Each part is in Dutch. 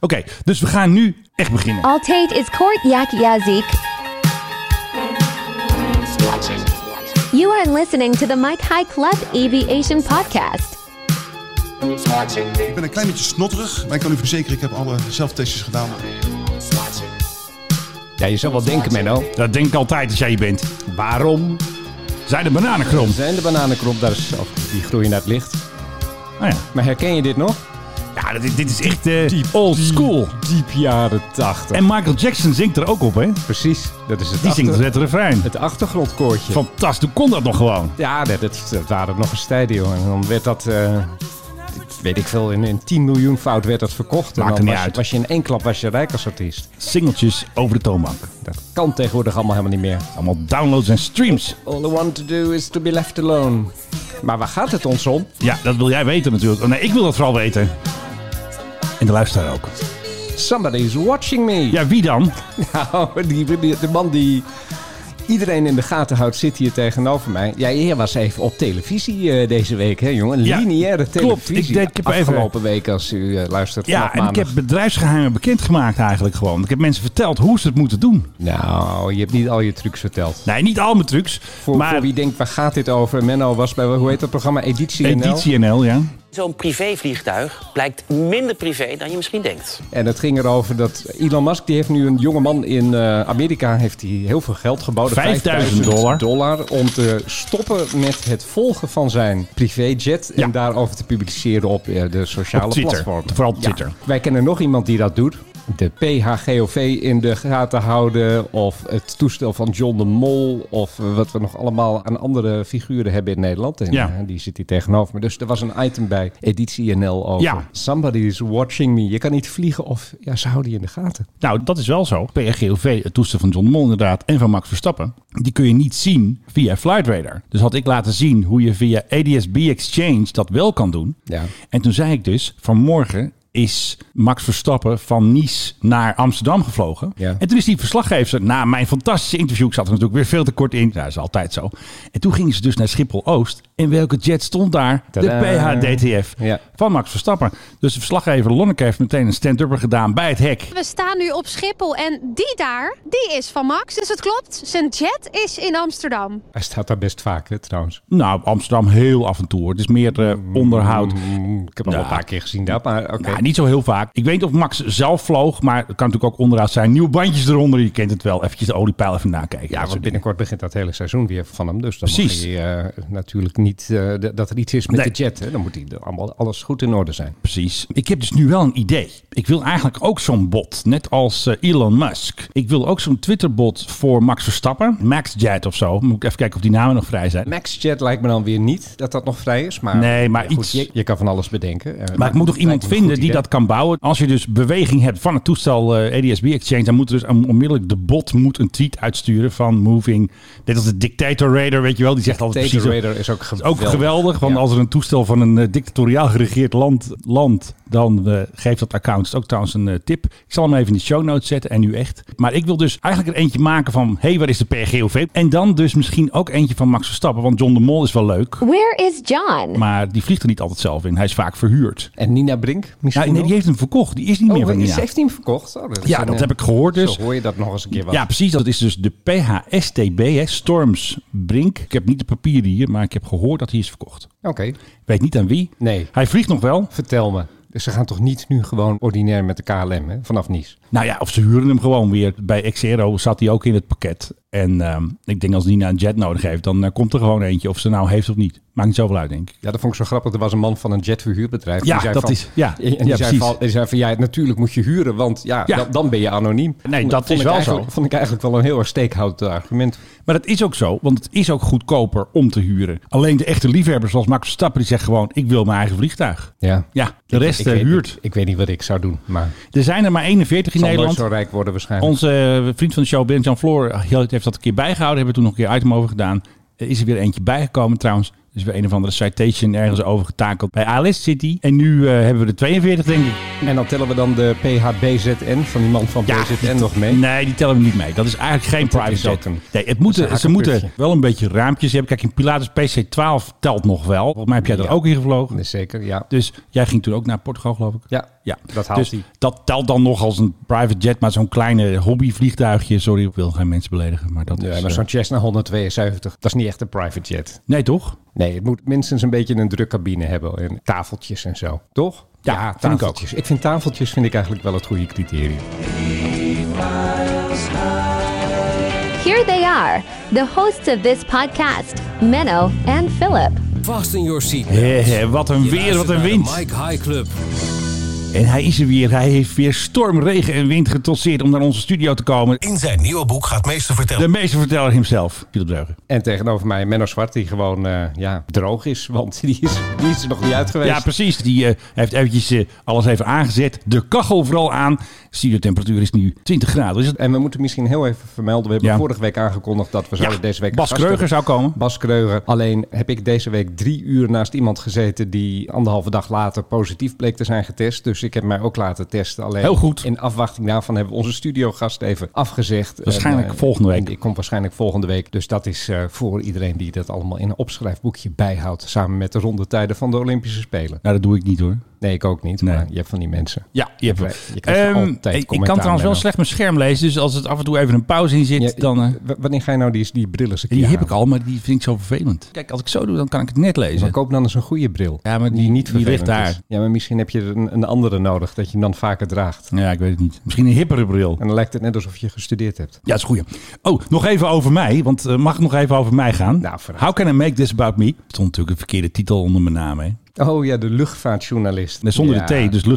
Oké, dus we gaan nu echt beginnen. Altijd is kort yak yazik. You are listening to the Mike High Club Aviation Podcast. Ik ben een klein beetje snotterig, maar ik kan u verzekeren, ik heb alle zelftestjes gedaan. Ja, je zou wel denken, Menno. Dat denk ik altijd als jij hier bent. Waarom Zij de bananenkrom. zijn de bananenkrop daar is, of die groeien naar het licht? Nou ja, Maar herken je dit nog? ja dit, dit is echt eh, old school. Diep jaren 80. En Michael Jackson zingt er ook op, hè? precies, dat is het, Die zingt achter- het refrein. het achtergrondkoortje. Fantastisch, hoe kon dat nog gewoon? Ja, dat, dat, dat waren nog eens tijden, jongen. En dan werd dat, eh, dit weet ik veel, in, in 10 miljoen fout werd dat verkocht. En Maakt dan er niet was, je- uit. was je in één klap was je rijk als artiest. Singeltjes over de toonbank. Dat kan tegenwoordig allemaal helemaal niet meer. Allemaal downloads en streams. All I want to do is to be left alone. Maar waar gaat het ons om? Ja, dat wil jij weten natuurlijk. Oh, nee, ik wil dat vooral weten. En de luisteraar ook. Somebody's watching me. Ja, wie dan? Nou, die, die- de man die iedereen in de gaten houdt, zit hier tegenover mij. Ja, jij was even op televisie eh, deze week, hè, jongen? Ja, Lineaire klopt. televisie. Ik deed- ik heb even- Afgelopen week, als u eh, luistert Ja, vanaf en ik maandag. heb bedrijfsgeheimen bekendgemaakt eigenlijk gewoon. Ik heb mensen verteld hoe ze het moeten doen. Nou, je hebt niet al je trucs verteld. Nee, niet al mijn trucs. Voor, maar voor wie denkt, waar gaat dit over? Menno was bij, hoe heet dat programma? Editie, NL. Editie NL, ja. Zo'n privévliegtuig blijkt minder privé dan je misschien denkt. En het ging erover dat Elon Musk, die heeft nu een jongeman in eh, Amerika, heeft hij heel veel geld geboden. 5000 dollar. Om te stoppen met het volgen van zijn privéjet. En Ja. daarover te publiceren op eh, de sociale Op Twitter. platformen. Vooral op Twitter. Wij kennen nog iemand die dat doet. De PHGOV in de gaten houden. Of het toestel van John de Mol. Of eh, wat we nog allemaal aan andere figuren hebben in Nederland. En, Ja. eh, die zit hier tegenover me. Dus er was een item bij Editie NL over. Ja. Somebody is watching me. Je kan niet vliegen of ja, ze houden je in de gaten. Nou, dat is wel zo. PRGOV, het toestel van John de Mol inderdaad, en van Max Verstappen. Die kun je niet zien via Flight Radar. Dus had ik laten zien hoe je via ADS-B Exchange dat wel kan doen. Ja. En toen zei ik dus, vanmorgen is Max Verstappen van Nice naar Amsterdam gevlogen. Ja. En toen is die verslaggever, na mijn fantastische interview, ik zat er natuurlijk weer veel te kort in, nou, dat is altijd zo. En toen gingen ze dus naar Schiphol-Oost. En welke jet stond daar? Tadaa. De PHDTF Ja. van Max Verstappen. Dus de verslaggever Lonneke heeft meteen een stand-upper gedaan bij het hek. We staan nu op Schiphol en die daar, die is van Max. Dus het klopt, zijn jet is in Amsterdam. Hij staat daar best vaak, hè, trouwens. Nou, Amsterdam heel af en toe. hoor. Het is meer eh, onderhoud. Mm, ik heb hem al een Nou. paar keer gezien daar, maar oké. Nou, niet zo heel vaak. Ik weet niet of Max zelf vloog, maar het kan natuurlijk ook onderhoud zijn. Nieuwe bandjes eronder, je kent het wel. Eventjes de oliepeil even nakijken. Ja, Dat want soort Dus binnenkort begint dat hele seizoen weer van hem. Dus dan Precies. mag hij eh, natuurlijk niet eh, d- dat er iets is met Nee. de jet. Hè. Dan moet hij er allemaal alles goed in orde zijn. dingen. precies. Ik heb dus nu wel een idee. Ik wil eigenlijk ook zo'n bot, net als eh, Elon Musk. Ik wil ook zo'n Twitterbot voor Max Verstappen. MaxJet of zo. Moet ik even kijken of die namen nog vrij zijn. MaxJet lijkt me dan weer niet dat dat nog vrij is. Maar, Nee, maar ja, goed, iets- Je, je kan van alles bedenken. Eh, Maar ik moet toch lijkt iemand me een vinden goed die idee. dat kan bouwen. Als je dus beweging hebt van het toestel eh ADS-B Exchange, dan moet er dus onmiddellijk de bot moet een tweet uitsturen van moving. Net als de Dictator Radar, weet je wel, die zegt altijd Dictator precies. Radar is ook Het is ook geweldig. geweldig, want Ja. als er een toestel van een eh, dictatoriaal geregeerd land landt, dan eh, geeft dat account Het is ook trouwens een eh, tip. Ik zal hem even in de show notes zetten en nu echt. Maar ik wil dus eigenlijk er eentje maken van, hé, hey, waar is de PRGOV? En dan dus misschien ook eentje van Max Verstappen, want John de Mol is wel leuk. Where is John? Maar die vliegt er niet altijd zelf in. Hij is vaak verhuurd. En Nina Brink misschien Ja, nee, die nog? heeft hem verkocht. Die is niet meer Oh, van is- Nina. heeft hij hem verkocht? Oh, is Ja, een, dat eh, heb ik gehoord dus. Zo hoor je dat nog eens een keer wel. Ja, precies. Dat is dus de PHSTB, hè, Storms Brink. Ik heb niet de papieren hier, maar ik heb gehoord dat hij is verkocht. Oké, Weet niet aan wie. Nee. Hij vliegt nog wel. vertel me. Dus ze gaan toch niet nu gewoon ordinair met de KLM hè? vanaf Nice? Nou ja, of ze huren hem gewoon weer. Bij Xero zat hij ook in het pakket. En ehm, ik denk als Nina een jet nodig heeft, dan eh, komt er gewoon eentje. Of ze nou heeft of niet. Maakt niet zoveel uit, denk ik. Ja, dat vond ik zo grappig. Er was een man van een jetverhuurbedrijf. Ja, die zei dat van, is- ja. en die, Ja, zei precies. Van, die zei van, ja, natuurlijk moet je huren, want ja, Ja. Dan, dan ben je anoniem. Nee, Vond- dat vond is ik wel eigenlijk- zo. Vond ik eigenlijk wel een heel erg steekhoud argument. Maar dat is ook zo, want het is ook goedkoper om te huren. Alleen de echte liefhebbers zoals Max Verstappen, die zegt gewoon... ik wil mijn eigen vliegtuig. Ja. Ja, de rest eh, weet huurt. niet- ik weet niet wat ik zou doen, maar ik Er zijn er maar 41 in zal nooit Nederland. zo rijk worden waarschijnlijk. Onze eh, vriend van de show, Ben Jan Floor, eh, heeft dat een keer bijgehouden. Hebben we toen nog een keer item over gedaan. Er is er weer eentje bijgekomen trouwens. Er is weer een of andere citation ergens over getakeld bij ALS City. En nu eh, hebben we er 42, denk ik. En dan tellen we dan de PHBZN van die man van BZN nog mee. Nee, die tellen we niet mee. Dat is eigenlijk geen Want dat private is ook jet. een- Nee, het dat is moeten, een ze moeten hakkenputje. wel een beetje raampjes hebben. Kijk, in Pilatus PC-12 telt nog wel. Volgens mij heb jij er Ja. ook in gevlogen. Nee, zeker, ja. Dus jij ging toen ook naar Portugal, geloof ik. Ja, Ja, Dat haalt dus hij. dat telt dan nog als een private jet, maar zo'n kleine hobbyvliegtuigje. Sorry, ik wil geen mensen beledigen, maar dat Ja, is... maar eh, zo'n Cessna 172, dat is niet echt een private jet. Nee, toch? Nee, het moet minstens een beetje een drukcabine hebben en tafeltjes en zo, toch? Ja, vind ik tafeltjes. Ik vind tafeltjes vind ik eigenlijk wel het goede criterium. Here they are, the hosts of this podcast, Menno and Philip. Fasten your seat. Hehe, wat een weer, wat een wind. Mike High Club. En hij is er weer. Hij heeft weer storm, regen en wind getrotseerd om naar onze studio te komen. In zijn nieuwe boek gaat meester vertellen. De meesterverteller hemzelf, Philip Dreugen. En tegenover mij Menno Zwart, die gewoon eh, ja, droog is, want die is, die is er nog niet uit geweest. Ja, precies. Die eh, heeft eventjes eh, alles even aangezet. De kachel vooral aan. Studiotemperatuur is nu 20 graden. Is het En we moeten misschien heel even vermelden. We hebben Ja. vorige week aangekondigd dat we zouden deze week... een Bas gast hebben. Kreuger zou komen. Bas Kreuger. Alleen heb ik deze week drie uur naast iemand gezeten... die anderhalve dag later positief bleek te zijn getest. Dus ik heb mij ook laten testen. Alleen Heel goed. in afwachting daarvan hebben we onze studiogast even afgezegd. Waarschijnlijk eh, volgende week. en Ik kom waarschijnlijk volgende week. Dus dat is eh, voor iedereen die dat allemaal in een opschrijfboekje bijhoudt... samen met de rondetijden van de Olympische Spelen. Nou, dat doe ik niet hoor. Nee, ik ook niet. Nee. Maar je hebt van die mensen. Ja, je hebt wel. Je krijgt Ehm, altijd ik- ik commentaar, kan trouwens wel Menno. slecht mijn scherm lezen. Dus als het af en toe even een pauze in zit, Ja, dan... eh, w- wanneer ga je nou die, die brillen eens een die keer heb aan? ik al, maar die vind ik zo vervelend. Kijk, als ik zo doe, dan kan ik het net Maar lezen. koop dan eens een goede bril. Ja, maar die- die vervelend ligt daar. is. Ja, maar misschien heb je er een, een andere nodig dat je hem dan vaker draagt. Ja, ik weet het niet. Misschien een hippere bril. En dan lijkt het net alsof je gestudeerd hebt. Ja, dat is goed. Oh, nog even over mij, want eh, mag het nog even over mij gaan? Nou, vooruit. How can I make this about me? Er stond natuurlijk een verkeerde titel onder mijn naam, hè? Oh ja, de luchtvaartjournalist. Nee, Zonder Ja. de T, dus Oh,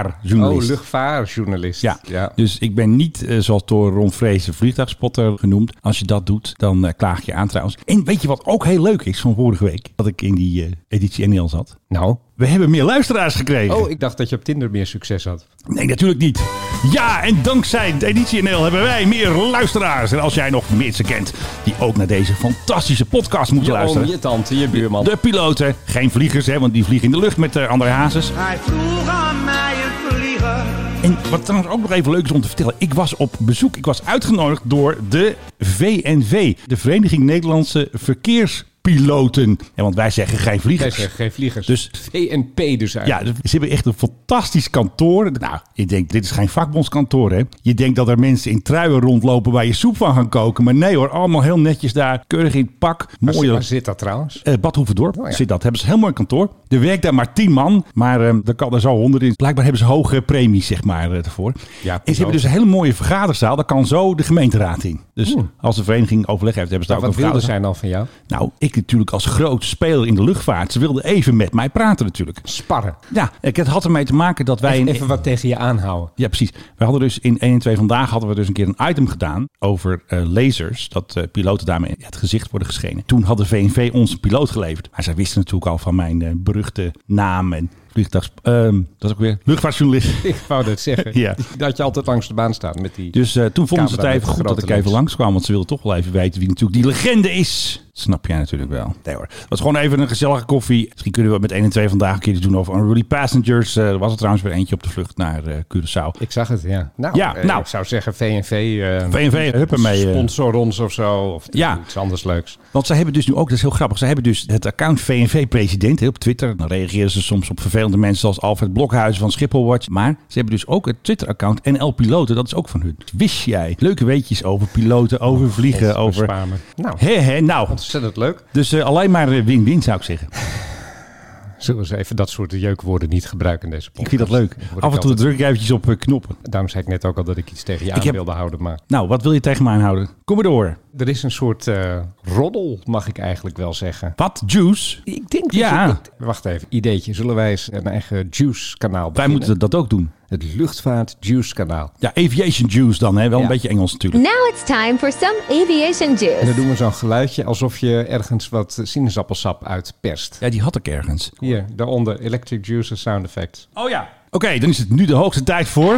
luchtvaarjournalist. luchtvaartjournalist. Ja. ja. dus ik ben niet, eh, zoals door Ron Vrees, een vliegtuigspotter genoemd. Als je dat doet, dan eh, klaag je aan trouwens. En weet je wat ook heel leuk is van vorige week? Dat ik in die eh, editie NL zat. Nou. We hebben meer luisteraars gekregen. Oh, ik dacht dat je op Tinder meer succes had. Nee, natuurlijk niet. Ja, en dankzij de Editie NL hebben wij meer luisteraars. En als jij nog mensen kent die ook naar deze fantastische podcast moeten Je oom, luisteren. je tante, je buurman. De piloten, geen vliegers, hè, want die vliegen in de lucht met eh, André Hazes. Hij vroeg aan mij een vlieger. En wat trouwens ook nog even leuk is om te vertellen. Ik was op bezoek, ik was uitgenodigd door de VNV. De Vereniging Nederlandse Verkeerspiloten. En want wij zeggen geen Jij vliegers. zegt geen vliegers. Dus- VNP dus eigenlijk. Ja, dus ze hebben echt een fantastisch kantoor. Nou, ik denk, dit is geen vakbondskantoor, hè? Je denkt dat er mensen in truien rondlopen waar je soep van gaan koken. Maar nee hoor, allemaal heel netjes daar. Keurig in het pak. Waar- Mooi. Waar zit dat trouwens? Eh, Bad Hoeverdorp Oh ja. zit dat. Hebben ze een heel mooi kantoor. Er werkt daar maar tien man, maar ehm er kan er zo honderd in. Blijkbaar hebben ze hoge premies, zeg maar, eh, ervoor. Ja, en ze hebben dus een hele mooie vergaderzaal. Daar kan zo de gemeenteraad in. Dus als de vereniging overleg heeft, hebben ze daar ook Hmm. Nou, Wat een wilde vergaderzaal. zij dan van jou? Nou, ik natuurlijk als groot speler in de luchtvaart. Ze wilden even met mij praten natuurlijk. Sparren. Ja, ik- het had ermee te maken dat wij... Even, in- even wat tegen je aanhouden. ja, precies. We hadden dus in 1 en 2 vandaag hadden we dus een keer een item gedaan over eh, lasers. Dat eh, piloten daarmee in het gezicht worden geschenen. Toen had de VNV ons een piloot geleverd. Maar zij wisten natuurlijk al van mijn eh, beruchte naam en vliegtuigs... ehm, dat is ook weer luchtvaartjournalist. Ik wou dat zeggen. Ja. Dat je altijd langs de baan staat met die... Dus eh, toen vonden ze het Camera even met goed dat grote ik even lens. langskwam. Want ze wilden toch wel even weten wie natuurlijk die legende is. Snap jij natuurlijk wel. Nee hoor. Het was gewoon even een gezellige koffie. Misschien kunnen we met 1 en 2 vandaag een keer iets doen over Unruly Passengers. Eh, er was er trouwens weer eentje op de vlucht naar eh, Curaçao. Ik zag het, ja. Nou, Ja, eh, nou. ik zou zeggen VNV. eh, VNV, hup ermee, eh. Sponsor ons of zo. Of Ja. iets anders leuks. Want zij hebben dus nu ook, dat is heel grappig, zij hebben dus het account VNV-president hè, op Twitter. Dan reageren ze soms op vervelende mensen zoals Alfred Blokhuizen van Schiphol Watch. Maar ze hebben dus ook het Twitter-account NL Piloten, dat is ook van hun. Wist jij leuke weetjes over piloten, over vliegen, Oh, God, over... bespaar me. Nou, Hé, hé, nou. ontzettend leuk. Dus eh, alleen maar eh, win-win zou ik zeggen. Zullen we eens even dat soort jeukwoorden niet gebruiken in deze Ik podcast? vind dat leuk. Dan word Af ik en toe altijd- druk ik eventjes op eh, knoppen. Daarom zei ik net ook al dat ik iets tegen je aan heb- wilde houden. Maar Nou, wat wil je tegen me aanhouden? Kom maar door. er is een soort eh, roddel, mag ik eigenlijk wel zeggen. Wat, Juice? Ik denk dat Ja. je- ik- wacht even, ideetje. Zullen wij eens een eigen Juice-kanaal Wij beginnen? moeten dat ook doen. Het Luchtvaart-Juice-kanaal. Ja, aviation juice dan, hè? Wel een Ja. beetje Engels natuurlijk. Now it's time for some aviation En dan juice. doen we zo'n geluidje alsof je ergens wat sinaasappelsap uitperst. Ja, die had ik ergens. Hier, daaronder Electric Juicer Sound Effects. Oh ja. Oké, dan is het nu de hoogste tijd voor.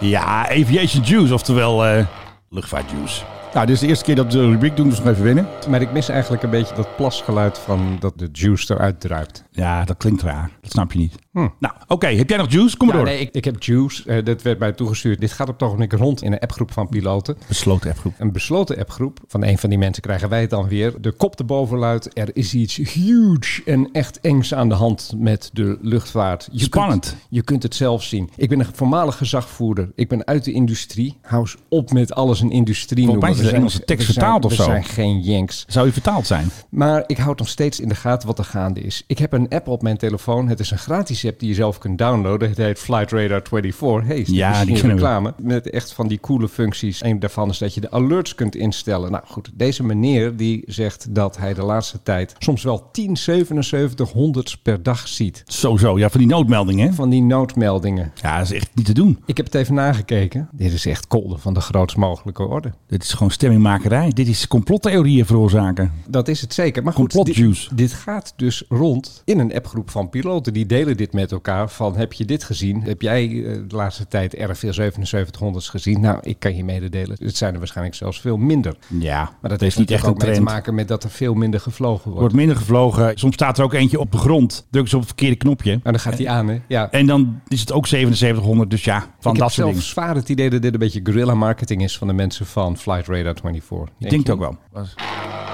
Ja, Aviation Juice, oftewel eh luchtvaartjuice. Nou, dit is de eerste keer dat we de rubriek doen, dus nog even winnen. Maar ik mis eigenlijk een beetje dat plasgeluid van dat de juice eruit druipt. Ja, dat klinkt raar. Dat snap je niet. Nou, oké. Heb jij nog juice? Kom maar Ja, door. nee, ik, ik heb juice. Eh, dat werd mij toegestuurd. Dit gaat op toch een rond in een appgroep van piloten. Besloten appgroep. Een besloten appgroep. Van een van die mensen krijgen wij het dan weer. De kop erboven luidt. Er is iets huge en echt engs aan de hand met de luchtvaart. Je Spannend. Kunt, je kunt het zelf zien. Ik ben een voormalig gezagvoerder. Ik ben uit de industrie. Hou eens op met alles een industrie Volgens noemen. mij is We er zijn- Engelse tekst we zijn- vertaald of zo. We zijn geen Yanks. Zou je vertaald zijn? Maar ik houd nog steeds in de gaten wat er gaande is. Ik heb een app op mijn telefoon. Het is een gratis app die je zelf kunt downloaden. Het heet Flight Radar 24. Hey, is dit Ja, misschien die kennen we. reclame. Met echt van die coole functies. Een daarvan is dat je de alerts kunt instellen. Nou goed, deze meneer die zegt dat hij de laatste tijd soms wel 10 77 honderd per dag ziet. Sowieso. Ja, van die noodmeldingen. hè? Van die noodmeldingen. Ja, dat is echt niet te doen. Ik heb het even nagekeken. Dit is echt kolder van de grootst mogelijke orde. Dit is gewoon stemmingmakerij. Dit is complottheorieën veroorzaken. Dat is het zeker. Maar goed, Complotjuice. dit, dit gaat dus rond in een appgroep van piloten. Die delen dit met elkaar. Van heb je dit gezien? Heb jij eh, de laatste tijd RFL 7700's gezien? Nou, ik kan je mededelen. Het zijn er waarschijnlijk zelfs veel minder. Ja, Maar dat heeft niet echt ook mee te maken met dat er veel minder gevlogen Wordt wordt. minder gevlogen. Soms staat er ook eentje op de grond. Druk ze op het verkeerde knopje. Nou, dan gaat die aan, hè? Ja. En dan is het ook 7700. Dus ja, van ik dat heb soort zelf dingen. zwaar het idee dat dit een beetje guerrilla marketing is van de mensen van Flight Radar 24. Ik denk het ook wel.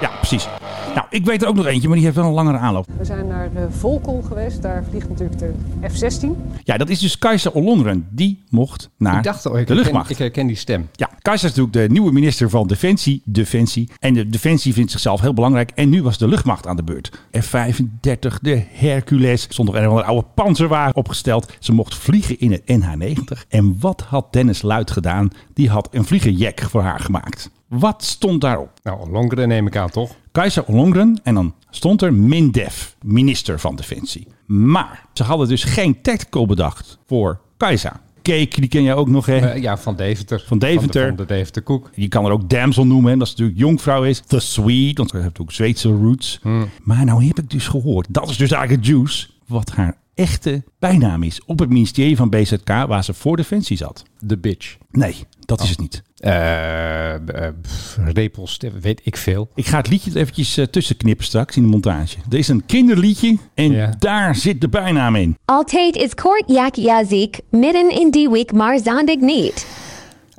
Ja, precies. Nou, ik weet er ook nog eentje, maar die heeft wel een langere aanloop. We zijn naar de Volkel geweest. Daar vliegt natuurlijk de F-16. Ja, dat is dus Kajsa Ollongren. Die mocht naar Ik dacht al, ik de herken, luchtmacht. ik herken die stem. Ja, Kajsa is natuurlijk de nieuwe minister van Defensie. Defensie. En de Defensie vindt zichzelf heel belangrijk. En nu was de luchtmacht aan de beurt. F-35, de Hercules. Er Stond nog een of andere oude panzerwagen opgesteld. Ze mocht vliegen in het NH-90. En wat had Dennis Luit gedaan? Die had een vliegenjack voor haar gemaakt. Wat stond daarop? Nou, Longren neem ik aan, toch? Kajsa Ollongren en dan stond er Mindef, minister van Defensie. Maar ze hadden dus geen tactical bedacht voor Kajsa. Cake, die ken jij ook nog, hè? Eh, ja, van Deventer. Deventer. Van de, van de Deventer Koek. Je kan er ook damsel noemen, hè, dat ze natuurlijk jonkvrouw is. The Swede, want ze heeft ook Zweedse roots. Maar nou heb ik dus gehoord, dat is dus eigenlijk het juice, wat haar echte bijnaam is op het ministerie van BZK, waar ze voor Defensie zat. De bitch. Nee, dat is het niet. eh eh, pff, repels, weet ik veel. Ik ga het liedje er eventjes eh, tussen knippen straks in de montage. Er is een kinderliedje en Ja. daar zit de bijnaam in. Altate is court yak yazik, midden in die week marzondig neat.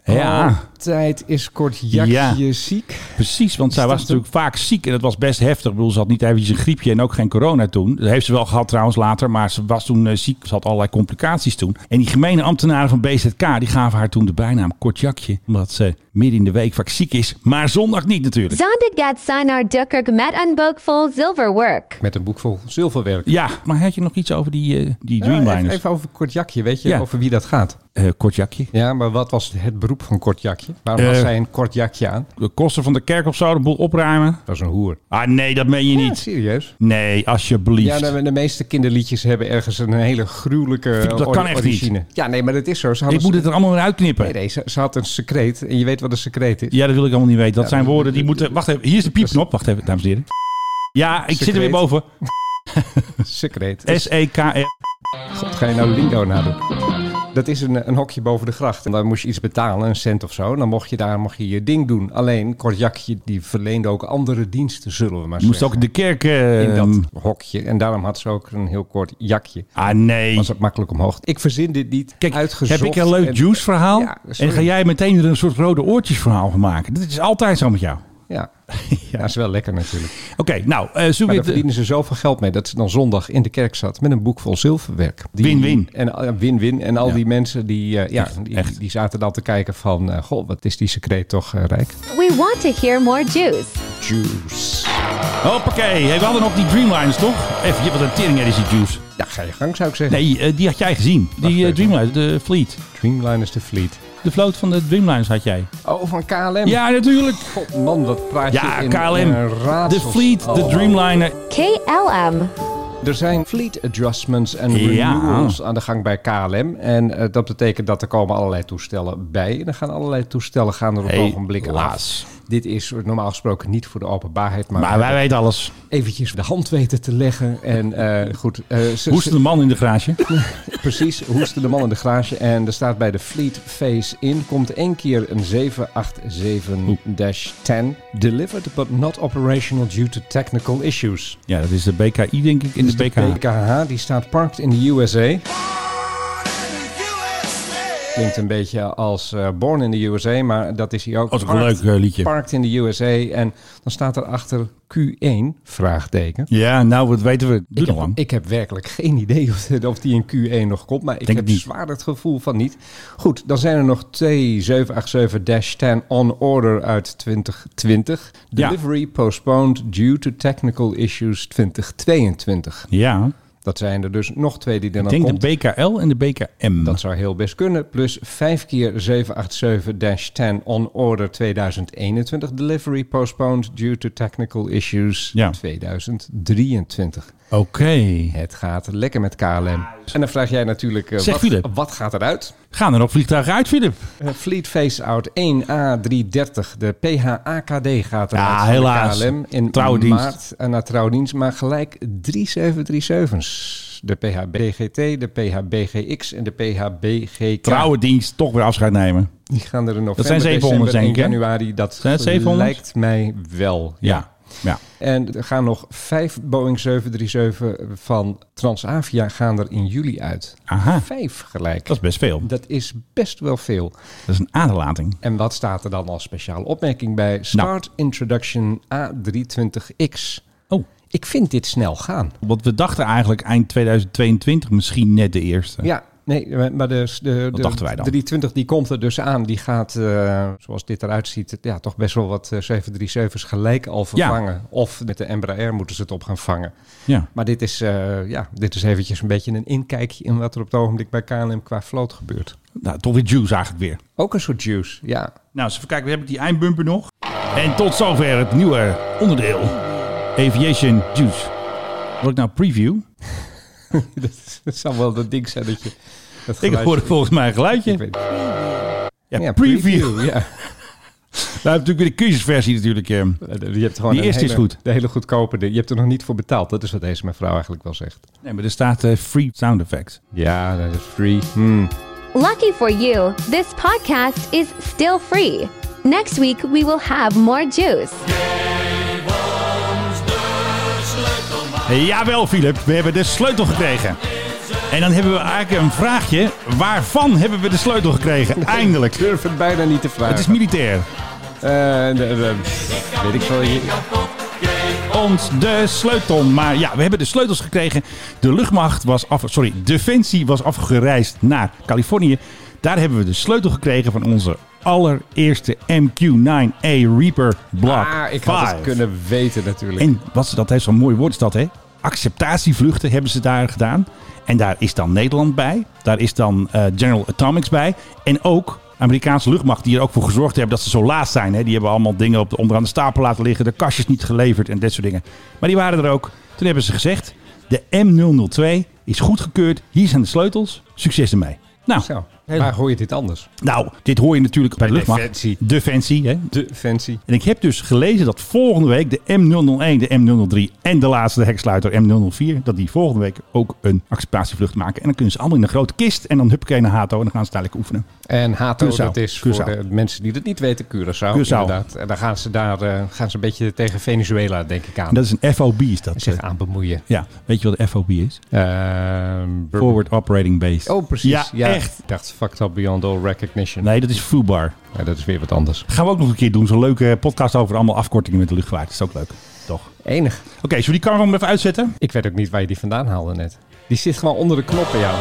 Ja, Tijd is kort jakje Ja. ziek. precies. Want zij dat was natuurlijk vaak ziek en dat was best heftig. Ik bedoel, ze had niet eventjes een griepje en ook geen corona toen. Dat heeft ze wel gehad trouwens later, maar ze was toen eh, ziek. Ze had allerlei complicaties toen. En die gemene ambtenaren van BZK, die gaven haar toen de bijnaam Kortjakje. Omdat ze midden in de week vaak ziek is, maar zondag niet natuurlijk. Zondig dat sanar dukkirk met een boekvol zilver work. Met een boek vol zilverwerk. Ja, maar had je nog iets over die, eh, die Ja, even- Dreamliners? even over kort jakje, weet je Ja. over wie dat gaat? Eh, Kortjakje. Ja, maar wat was het beroep van kort jakje? Waarom Eh. had zij een kort jakje aan? De kosten van de kerk of zo, de boel opruimen. Dat is een hoer. Ah nee, dat meen je Ja, niet. serieus? Nee, alsjeblieft. Ja, nou, de, de meeste kinderliedjes hebben ergens een hele gruwelijke Vind- dat ori- kan echt niet. origine. Ja, nee, maar dat is zo. Ze hadden Ik moet ze- het er allemaal weer uitknippen. Nee, nee, ze, ze had een secreet. En je weet wat een secreet is? Ja, dat wil ik allemaal niet weten. Dat zijn woorden die dat- moeten. Wacht even, hier is de piepknop. Wacht even, dames en heren. Ja, ik zit er weer Secreet. boven. E Secreet. S-E-K-R. God, ga je nou lingo nadoen? Dat is een, een hokje boven de gracht. En daar moest je iets betalen, een cent of zo. En Dan mocht je daar mocht je je ding doen. Alleen Kortjakje die verleende ook andere diensten, zullen we maar Je moest zeggen. ook de kerk. eh, in dat hokje. En daarom had ze ook een heel kort jakje. Ah, nee. Was het makkelijk omhoog. Ik verzin dit niet. Kijk, Uitgezocht heb ik een leuk en- juice verhaal? Ja, sorry. en ga jij meteen er een soort rode oortjes verhaal van maken? Dat is altijd zo met jou. Ja. ja, is wel lekker natuurlijk. Oké, nou, eh Maar zullen daar we... het- verdienen ze zoveel geld mee dat ze dan zondag in de kerk zat met een boek vol zilverwerk. Die- Win-win. En al- ja, win-win. En al Ja. die mensen die, eh, ja, die, echt. die zaten dan te kijken van, eh, goh, wat is die secreet toch eh, rijk? We want to hear more juice. Juice. eh, Hoppakee. Hey, we hadden nog die Dreamliners, toch? Even, wat een tering is die juice. Ja, ga je gang zou ik zeggen. Nee, eh, die had jij gezien. Die eh, even. Dreamliners, de fleet. Dreamliners de Fleet. De vloot van de Dreamliners had jij. Oh, van KLM. Ja, natuurlijk. God, man, wat praat je Ja, in, in KLM. een raadsel. De fleet, de Oh. Dreamliner. KLM. Er zijn fleet adjustments en Ja. renewals aan de gang bij KLM. En eh, dat betekent dat er komen allerlei toestellen bij. En er gaan allerlei toestellen gaan er op Helaas. ogenblikken af. Dit is normaal gesproken niet voor de openbaarheid, maar, Maar wij weten alles. eventjes de hand weten te leggen. En eh, goed, eh, ze- Hoe is de man in de garage? Precies, hoesten de man in de garage. En er staat bij de Fleet Phase in, komt één keer een 787-10. Delivered but not operational due to technical issues. Ja, dat is de BKI denk ik in de Dus BKH. BKH, die staat parked in de USA. Klinkt een beetje als eh, Born in the USA, maar dat is hij ook. Dat is ook een leuk Parked- eh, liedje. Parked in the USA. En dan staat erachter Q1, vraagteken. Ja, nou, wat weten we? Doe Ik nog heb, lang. ik heb werkelijk geen idee of, of die in Q1 nog komt. Maar ik Denk heb het niet. zwaar het gevoel van niet. Goed, dan zijn er nog twee 787-10 on order uit 2020. Ja. Delivery postponed due to technical issues 2022. Ja, Dat zijn er dus nog twee die er ik dan denk komt. de BKL en de BKM. Dat zou heel best kunnen. Plus 5 keer 787-10 on order 2021. Delivery postponed due to technical issues Ja. 2023. Oké. Het gaat lekker met KLM. En dan vraag jij natuurlijk, eh, Zeg, wat, Philip. wat gaat eruit? Gaan er nog vliegtuigen uit, Philip? Eh, Fleet Phase Out 1A330, de PHAKD gaat eruit. Ja, van de helaas. KLM in Trouwdienst. maart eh, naar trouwdienst, maar gelijk drie 737's. De PHBGT, de PHBGX en de PHBGK. Trouwendienst, toch weer afscheid nemen. Die gaan er in november, zijn 700 december en denk ik, hè? januari. Dat Zijn het 700? lijkt mij wel. Ja. ja. En er gaan nog vijf Boeing 737 van Transavia gaan er in juli uit. Aha. Vijf gelijk. Dat is best veel. Dat is best wel veel. Dat is een aderlating. En wat staat er dan als speciale opmerking Nou. bij? Start Introduction A320X. Oh. Ik vind dit snel gaan. Want we dachten eigenlijk eind 2022 misschien net de eerste. Ja, nee, maar de, de, de dachten wij dan? 320 die komt er dus aan. Die gaat, eh, zoals dit eruit ziet, ja, toch best wel wat eh, 737's gelijk al vervangen. Of met de Embraer moeten ze het op gaan vangen. Ja. Maar dit is, eh, ja, dit is eventjes een beetje een inkijkje in wat er op het ogenblik bij KLM qua vloot gebeurt. Nou, toch weer juice eigenlijk weer. Ook een soort juice, ja. Nou, eens even kijken, heb ik die eindbumper nog? En tot zover het nieuwe onderdeel. Aviation Juice. Wat ik nou preview? dat, is- dat zal wel dat ding zijn dat je... Dat Ik geluidje- hoorde volgens mij een Ik geluidje. weet- Ja, Ja, preview. Ja. Nou, natuurlijk weer de keuzesversie natuurlijk. eh. Je hebt gewoon Die een eerste hele, is goed. De hele goedkope. Je hebt er nog niet voor betaald. Dat is wat deze mevrouw eigenlijk wel zegt. Nee, maar er staat eh, free sound effect. Ja, dat is free. Hmm. Lucky for you, this podcast is still free. Next week, we will have more juice. Jawel, Philip. We hebben de sleutel gekregen. En dan hebben we eigenlijk een vraagje. Waarvan hebben we de sleutel gekregen? Ik Eindelijk. durf het bijna niet te vragen. Het is militair. Eh, de- de- pff, weet ik veel. Je- ons de sleutel. Maar ja, we hebben de sleutels gekregen. De luchtmacht was af... Sorry, Defensie was afgereisd naar Californië. Daar hebben we de sleutel gekregen van onze allereerste MQ-9A Reaper Block Ah, ik had 5. het kunnen weten natuurlijk. En wat ze, dat heeft zo'n mooi woord is dat, hè? Acceptatievluchten hebben ze daar gedaan. En daar is dan Nederland bij. Daar is dan eh, General Atomics bij. En ook Amerikaanse luchtmacht, die er ook voor gezorgd hebben dat ze zo laat zijn. Hè? Die hebben allemaal dingen op de, onderaan de stapel laten liggen. De kastjes niet geleverd en dat soort dingen. Maar die waren er ook. Toen hebben ze gezegd, de M002 is goedgekeurd. Hier zijn de sleutels. Succes ermee. Nou, Zo, waar hoor je dit anders? nou, dit hoor je natuurlijk bij de luchtmacht. Defensie. Defensie, hè? De fancy. En ik heb dus gelezen dat volgende week de M001, de M003 en de laatste heksluiter M004, dat die volgende week ook een acceptatievlucht maken. En dan kunnen ze allemaal in een grote kist en dan huppakee naar Hato en dan gaan ze dadelijk oefenen. En Hato, Curaçao. dat is Curaçao. voor de mensen die dat niet weten, Curaçao. Curaçao. Inderdaad. En dan gaan ze daar eh, gaan ze een beetje tegen Venezuela, denk ik, aan. En dat is een FOB is dat. Zich aan bemoeien. Ja, weet je wat de FOB is? Ehm, bur- Forward Operating Base. Oh, precies. Ja, Ja, echt. Ik dacht, fucked up beyond all recognition. Nee, dat is FUBAR. Ja, dat is weer wat anders. Gaan we ook nog een keer doen. Zo'n leuke podcast over allemaal afkortingen met de luchtvaart. Dat is ook leuk, toch? Oké, Enig. zullen we die camera even uitzetten? Ik weet ook niet waar je die vandaan haalde net. Die zit gewoon onder de Nou, knop bij jou.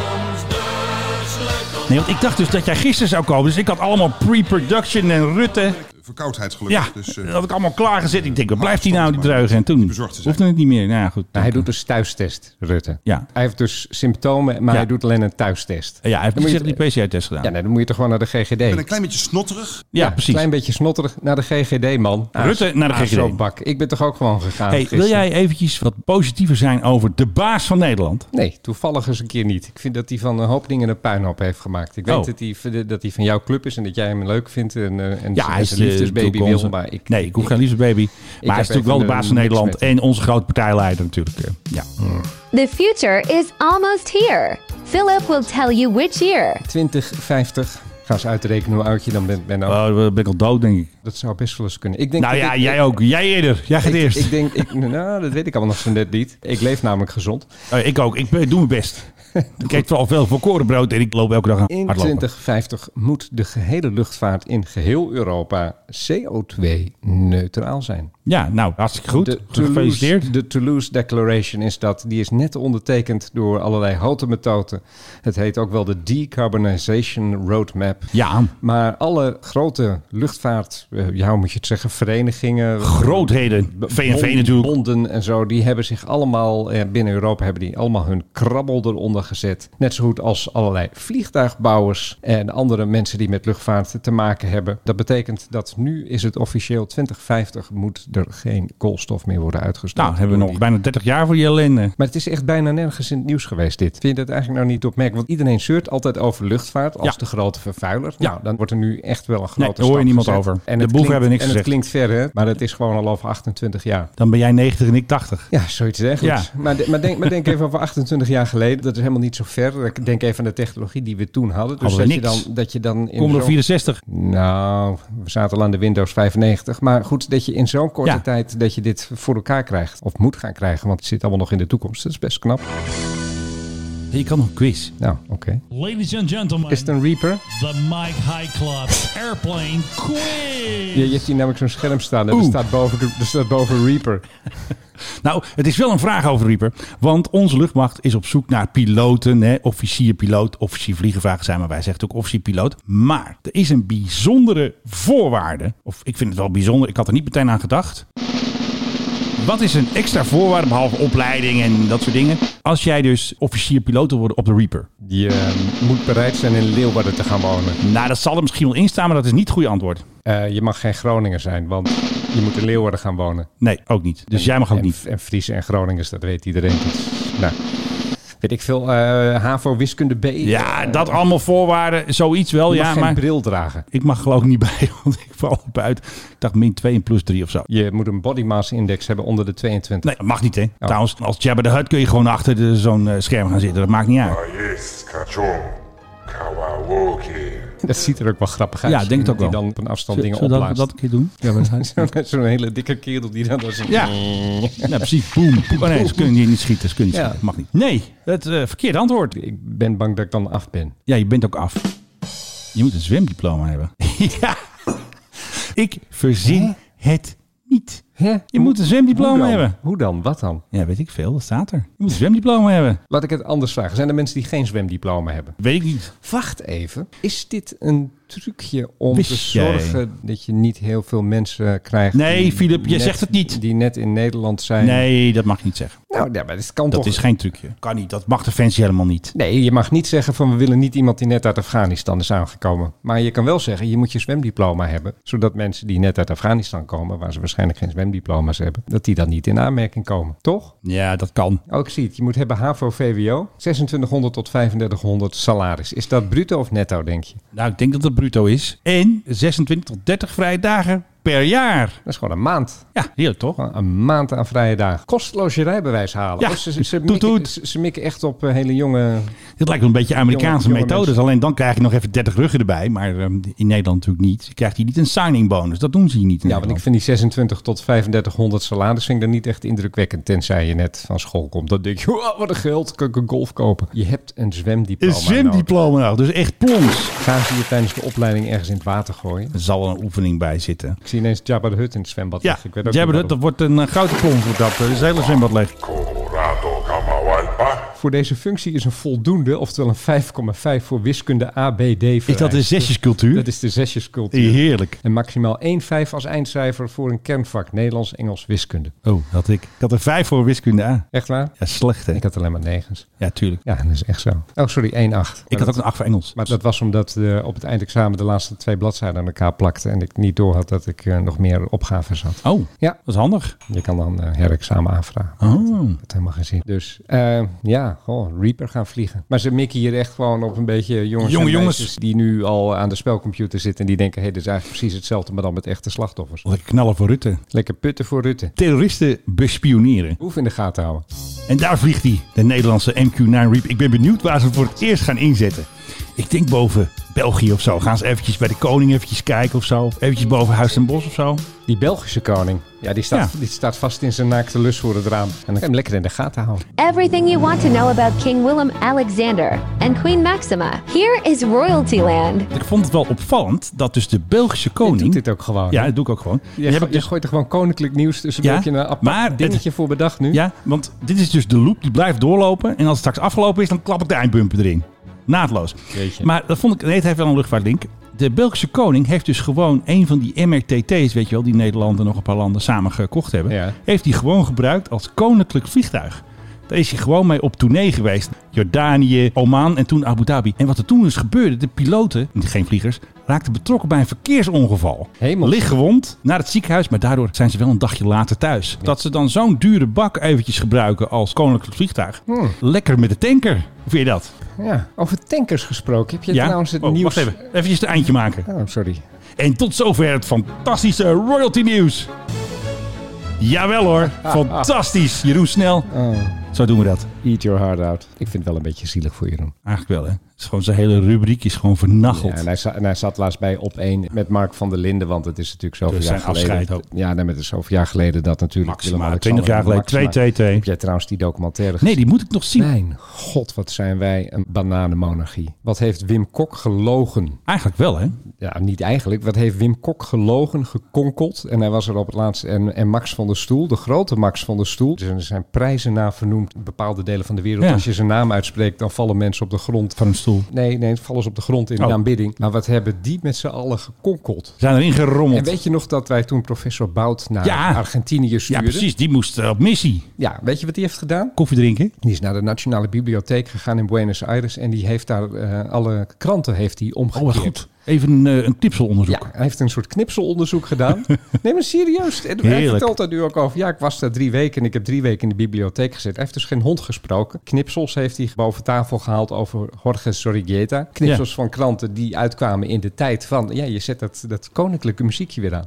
Nee, want ik dacht dus dat jij gisteren zou komen. Dus ik had allemaal pre-production en Rutte. Verkoudheid gelukkig. Ja, Dus, dat eh, had ik allemaal klaargezet. Ik denk, wat blijft hij nou, die maar dreugen? En toen bezorgd te zijn. hoefde het niet meer. Nou ja, goed. Nou, hij doet dus thuistest, Rutte. Ja. Hij heeft dus symptomen, maar Ja. hij doet alleen een thuistest. Ja, hij heeft Dan moet je niet die PCR-test gedaan. Ja, Ja, nee, dan moet je toch gewoon naar de GGD. ik ben een klein beetje snotterig. precies. Klein beetje snotterig naar de GGD, man. Rutte naar de Ah, GGD. zo'n bak. Ik ben toch ook gewoon gegaan. Hey, wil gisteren? jij eventjes wat positiever zijn over de baas van Nederland? Nee, toevallig eens een keer niet. Ik vind dat hij van een hoop dingen een puinhoop heeft gemaakt. Ik weet Oh. dat hij, dat hij van jouw club is en dat jij hem leuk vindt. En, eh, en Ja, hij is zijn liefde liefdesbaby toekomst. wil, maar ik- nee, ik hoef ik- geen liefdesbaby. Maar hij heb is natuurlijk wel de even, baas van eh, niks Nederland met Hm. en onze grote partijleider natuurlijk. eh, Ja. The future is almost here. Philip will tell you which year. 2050. Ga eens uitrekenen hoe oud je dan bent. Benno. Oh, dan ben ik al dood, denk ik. Dat zou best wel eens kunnen. Ik denk Nou dat ja, ik- jij ook. Jij eerder. Jij gaat Ik, eerst. ik denk, ik, nou, dat weet ik allemaal nog zo net niet. Ik leef namelijk gezond. Oh, ik ook. Ik ben- doe mijn best. ik eet vooral veel volkorenbrood en ik loop elke dag aan In hardlopen. 2050 moet de gehele luchtvaart in geheel Europa CO2-neutraal zijn. Ja, nou, hartstikke goed. De Gefeliciteerd. Toulouse, de Toulouse Declaration is dat. Die is net ondertekend door allerlei houten methoden. Het heet ook wel de Decarbonization Roadmap. Ja. Maar alle grote luchtvaart, eh, ja, hoe moet je het zeggen, verenigingen. Grootheden. b- VNV bon- natuurlijk. Bonden en zo, die hebben zich allemaal eh, binnen Europa hebben die allemaal hun krabbel eronder gezet. Net zo goed als allerlei vliegtuigbouwers en andere mensen die met luchtvaart te maken hebben. Dat betekent dat nu is het officieel 2050 moet er geen koolstof meer worden uitgestoten. Nou, hebben we door nog die- bijna 30 jaar voor je ellende. Maar het is echt bijna nergens in het nieuws geweest dit. Vind je dat eigenlijk nou niet opmerkelijk? Want iedereen zeurt altijd over luchtvaart als Ja. de grote vervuiler. Ja. Nou, dan wordt er nu echt wel een grote Nee, daar hoor je stap niemand gezet. over. De En boeven het klinkt, hebben niks En het gezegd. klinkt ver, hè? maar het is gewoon al over 28 jaar. Dan ben jij 90 en ik 80. Ja, zoiets dergelijks. Ja. Maar, de- maar, denk, maar denk even over 28 jaar geleden. Dat is helemaal niet zo ver. Ik Denk even aan de technologie die we toen hadden. Dus Hadden we dat, niks. Je dan, dat je dan in Kom er zo'n- 64. Nou, we zaten al aan de Windows 95. Maar goed, dat je in zo'n korte Ja. tijd dat je dit voor elkaar krijgt. Of moet gaan krijgen, want het zit allemaal nog in de toekomst. Dat is best knap. Je kan nog een quiz. Nou, oké. Ladies and gentlemen, Is het een Reaper? the Mike High Club Airplane Quiz. Je, je hebt hier namelijk zo'n scherm staan. En er, Oeh. staat boven, er staat boven Reaper. Nou, het is wel een vraag over Rieper. Want onze luchtmacht is op zoek naar piloten. Hè? Officier piloot, officier vliegenvaag zijn. Maar wij zeggen ook officier piloot. Maar er is een bijzondere voorwaarde. Of ik vind het wel bijzonder. Ik had er niet meteen aan gedacht. Wat is een extra voorwaarde behalve opleiding en dat soort dingen? Als jij dus officier piloot wil worden op de Reaper. Je eh, moet bereid zijn in Leeuwarden te gaan wonen. Nou, dat zal er misschien wel in staan, maar dat is niet het goede antwoord. Eh, je mag geen Groninger zijn, want je moet in Leeuwarden gaan wonen. Nee, ook niet. Dus jij mag ook en, niet. En Friese en Groningers, dat weet iedereen. Dat is- nou, weet ik veel. eh, HAVO wiskunde B. Eh, Ja, dat allemaal voorwaarden. Zoiets wel, Je mag ja. geen Maar bril dragen. ik mag geloof ik niet bij, want ik val buiten. Ik dacht min 2 en plus 3 of zo. Je moet een body mass index hebben onder de 22. Nee, dat mag niet, hè? Trouwens, als Jabba de Hutt kun je gewoon achter de- zo'n eh, scherm gaan zitten. Dat maakt niet uit. Dat ziet er ook wel grappig uit. Ja, denk het ook Die wel. dan op een afstand Zullen dingen we dat, opblaast. dat een keer doen? Ja, Zo'n- Zo'n hele dikke kerel die dan... als- ja. precies. Boom. Oh, nee, ze kunnen hier niet schieten. Ze kunnen niet Ja. schieten. Mag niet. Nee, het eh verkeerde antwoord. Ik ben bang dat ik dan af ben. Ja, je bent ook af. Je moet een zwemdiploma hebben. ja. Ik verzin het niet. Hè? Je moet een zwemdiploma Hoe dan? hebben. Hoe dan? Wat dan? Ja, weet ik veel. Dat staat er. Je moet een zwemdiploma hebben. Laat ik het anders vragen. Zijn er mensen die geen zwemdiploma hebben? Weet ik niet. Wacht even. Is dit een trucje om Wist te jij? zorgen dat je niet heel veel mensen krijgt? Nee, die Filip, je net- zegt het niet. Die net in Nederland zijn. Nee, dat mag je niet zeggen. Nou, ja, maar dat kan Dat toch... is geen trucje. Kan niet. Dat mag de fancy helemaal niet. Nee, je mag niet zeggen van we willen niet iemand die net uit Afghanistan is aangekomen. Maar je kan wel zeggen, je moet je zwemdiploma hebben. Zodat mensen die net uit Afghanistan komen, waar ze waarschijnlijk geen zwemdiploma's hebben, dat die dan niet in aanmerking komen. Toch? Ja, dat kan. Oh, ik zie het. Je moet hebben HAVO, VWO. 2600 tot 3500 salaris. Is dat bruto of netto, denk je? Nou, ik denk dat dat bruto is. En 26 tot 30 vrije dagen per jaar. Dat is gewoon een maand. Ja, heerlijk toch? Gewoon Een maand aan vrije dagen. Kosteloos je rijbewijs halen. Ja, Oh, ze, ze, ze toet, mikken, toet. ze, ze mikken echt op eh, hele jonge... Dit lijkt wel een beetje Amerikaanse Jonge- jonge methodes. mensen. Alleen dan krijg je nog even 30 ruggen erbij. Maar ehm, in Nederland natuurlijk niet. Je krijgt hier niet een signing bonus. Dat doen ze hier niet in Ja, want ik Nederland. vind die 26 tot 3500 salaris vind ik dan niet echt indrukwekkend. Tenzij je net van school komt. Dan denk je, wow, wat een geld, kan ik een golf kopen. Je hebt een zwemdiploma Een zwemdiploma nog. Dus echt plons. nodig. Gaan ze je tijdens de opleiding ergens in het water gooien? Er zal wel een oefening bij zitten. Ik zie ineens Jabba de Hut in het zwembad Ja, liggen. Dus Ik weet ook jij niet bedoelt, waarom. dat wordt een eh, grote plons. wordt Dat eh, is het hele zwembad leeg. Voor deze functie is een voldoende, oftewel een 5,5 voor wiskunde A, B, D vereist. Is dat een zesjescultuur? Dat is de zesjescultuur. Heerlijk. En maximaal 1,5 als eindcijfer voor een kernvak Nederlands, Engels, wiskunde. Oh, had ik. Ik had er vijf voor wiskunde A. Echt waar? Ja, slecht hè? Ik had alleen maar negens. Ja, tuurlijk. Ja, dat is echt zo. Oh, sorry, 1,8. Ik Maar had ook dat- een acht voor Engels. Maar dat was omdat eh, op het eindexamen de laatste twee bladzijden aan elkaar plakte en ik niet door had dat ik eh, nog meer opgaves had. Oh, Ja, dat is handig. je kan dan eh, herexamen aanvragen. Oh. Dat helemaal geen zin. Dus eh, ja, ja, goh, Reaper gaan vliegen. Maar ze mikken hier echt gewoon op een beetje jongens, Jonge en jongens. meisjes die nu al aan de spelcomputer zitten en die denken, hé, hey, dit is eigenlijk precies hetzelfde, maar dan met echte slachtoffers. Lekker knallen voor Rutte. Lekker putten voor Rutte. Terroristen bespioneren. Hoef in de gaten houden. En daar vliegt hij, de Nederlandse MQ-9 Reap. Ik ben benieuwd waar ze hem voor het eerst gaan inzetten. Ik denk boven België of zo. Gaan ze eventjes bij de koning eventjes kijken of zo. Eventjes boven Huis ten Bos of zo. Die Belgische koning, ja, die staat, Ja. Die staat vast in zijn naakte lus voor het raam. En dan kan je hem lekker in de gaten houden. Everything you want to know about King Willem Alexander and Queen Maxima. Here is royalty land. Ik vond het wel opvallend dat dus de Belgische Je doet koning... dit ook gewoon. Ja, hè? dat doe ik ook gewoon. Je, hebt go- je dus- gooit er gewoon koninklijk nieuws tussen. Ja, Heb je een apart maar het- dingetje voor bedacht nu? Ja, want dit is dus de loop die blijft doorlopen. En als het straks afgelopen is, dan klap ik de eindbumper erin. Naadloos. Jeetje. Maar dat vond ik, nee, het heeft wel een luchtvaartlink. De Belgische koning heeft dus gewoon een van die MRTT's, weet je wel, die Nederland en nog een paar landen samen gekocht hebben. Ja. Heeft hij gewoon gebruikt als koninklijk vliegtuig. Daar is hij gewoon mee op tournee geweest. Jordanië, Oman en toen Abu Dhabi. En wat er toen dus gebeurde, de piloten, geen vliegers, raakten betrokken bij een verkeersongeval. Hemels. Licht gewond naar het ziekenhuis, maar daardoor zijn ze wel een dagje later thuis. Dat ze dan zo'n dure bak eventjes gebruiken als koninklijk vliegtuig. Hmm. Lekker met de tanker. Hoe vind je dat? Ja. Over tankers gesproken. Heb je trouwens het Oh, nieuws... Wacht even. Eventjes het eindje maken. Oh, sorry. En tot zover het fantastische royalty nieuws. Jawel hoor. Fantastisch. Jeroen Snel. Oh. Zo doen we dat. Eat your heart out. Ik vind het wel een beetje zielig voor Jeroen. Eigenlijk wel hè. Het is gewoon zijn hele rubriek is gewoon vernacheld. Ja, en, hij za- en hij zat laatst bij op één met Mark van der Linden, want het is natuurlijk zoveel Dus jaar zijn geleden. afscheid ook. Ja, nee, maar het is zoveel jaar geleden dat natuurlijk. Maxima, Willem-Alexander 20 jaar en geleden, Maxima. 2-2-2. Heb jij trouwens die documentaire nee, die moet ik nog zien. Mijn god, wat zijn wij een bananenmonarchie. Wat heeft Wim Kok gelogen? Eigenlijk wel hè. Ja, niet eigenlijk. Wat heeft Wim Kok gelogen, gekonkeld? En hij was er op het laatst. En, en Max van der Stoel, de grote Max van der Stoel. Dus er zijn prijzen na vernoemd in bepaalde delen van de wereld. Ja. Als je zijn naam uitspreekt, dan vallen mensen op de grond. Van een stoel. Nee, nee, vallen ze op de grond in Oh. de aanbidding. Maar wat hebben die met z'n allen gekonkeld? Zijn erin gerommeld. En weet je nog dat wij toen professor Bout naar Ja. Argentinië ja stuurden? precies. Die moest eh, op missie. Ja, weet je wat die heeft gedaan? Koffie drinken. Die is naar de Nationale Bibliotheek gegaan in Buenos Aires en die heeft daar eh, alle kranten heeft die Oh omgekeerd. wat goed. Even een, eh, een Ja, tipselonderzoek. hij heeft een soort knipselonderzoek gedaan. nee, maar serieus. En hij Heerlijk. vertelt daar nu ook over. Ja, ik was daar drie weken en ik heb drie weken in de bibliotheek gezeten. Hij heeft dus geen hond gesproken. Knipsels heeft hij boven tafel gehaald over Jorge Sorrigueta. Knipsels van kranten die uitkwamen in de tijd van... Ja, je zet dat, dat koninklijke muziekje weer aan.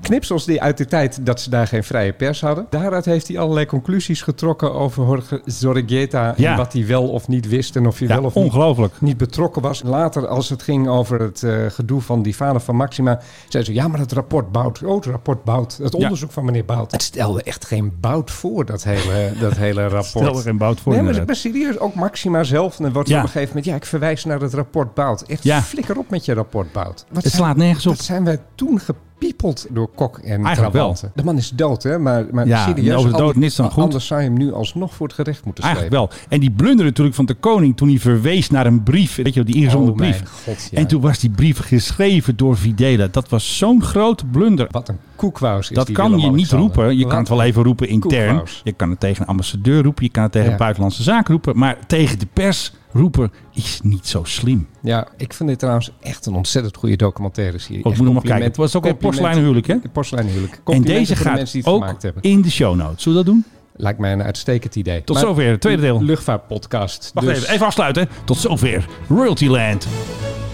Knipsels die uit de tijd dat ze daar geen vrije pers hadden. Daaruit heeft hij allerlei conclusies getrokken over Jorge Sorrigueta. Ja. En wat hij wel of niet wist en of hij Ja, wel of niet ongelooflijk. niet betrokken was. Later, als het ging over het eh, gedoe van die vader van Maxima, zei ze: Ja, maar het rapport Bout, oh, het rapport Bout, het onderzoek van meneer Bout. Het stelde echt geen Bout voor, dat hele, dat hele rapport. Stel er een bout voor Nee, maar, inderdaad. maar serieus, ook Maxima zelf. En dan wordt Ja. op een gegeven moment, ja, ik verwijs naar het rapport Bout. Echt Ja. flikker op met je rapport Bout. Het Wat zijn- slaat nergens op. Wat zijn wij toen gepiepeld door Kok en Eigenlijk wel. Trawante. De man is dood, hè? Maar, maar Ja, serieus, over de dood anders- niets dan goed. Anders zou je hem nu alsnog voor het gerecht moeten slepen. Eigenlijk wel. En die blunder natuurlijk van de koning toen hij verwees naar een brief. Weet je wel, die ingezonden Oh mijn brief. god, ja. En toen was die brief geschreven door Videla. Dat was zo'n grote blunder. Wat een koekwaus is Dat die kan je niet Willem-Alexander. roepen. Je Wat kan het wel even roepen intern. koekwaus. Je kan het tegen een ambassadeur roepen. Je kan het tegen Ja. een buitenlandse zaak roepen. Maar tegen de pers roepen is niet zo slim. Ja, ik vind dit trouwens echt een ontzettend goede documentaire serie. Oh, ik Echt moet nog maar compliment- kijken. Het was ook een compliment- porseleinenhuwelijk, hè? Een porseleinenhuwelijk. En Complimenten deze voor de mensen gaat die het ook gemaakt hebben. in de show notes. Zullen we dat doen? Lijkt mij een uitstekend idee. Tot zover, het tweede deel. Luchtvaartpodcast. Wacht Dus- even, even afsluiten. Tot zover. Royalty Land.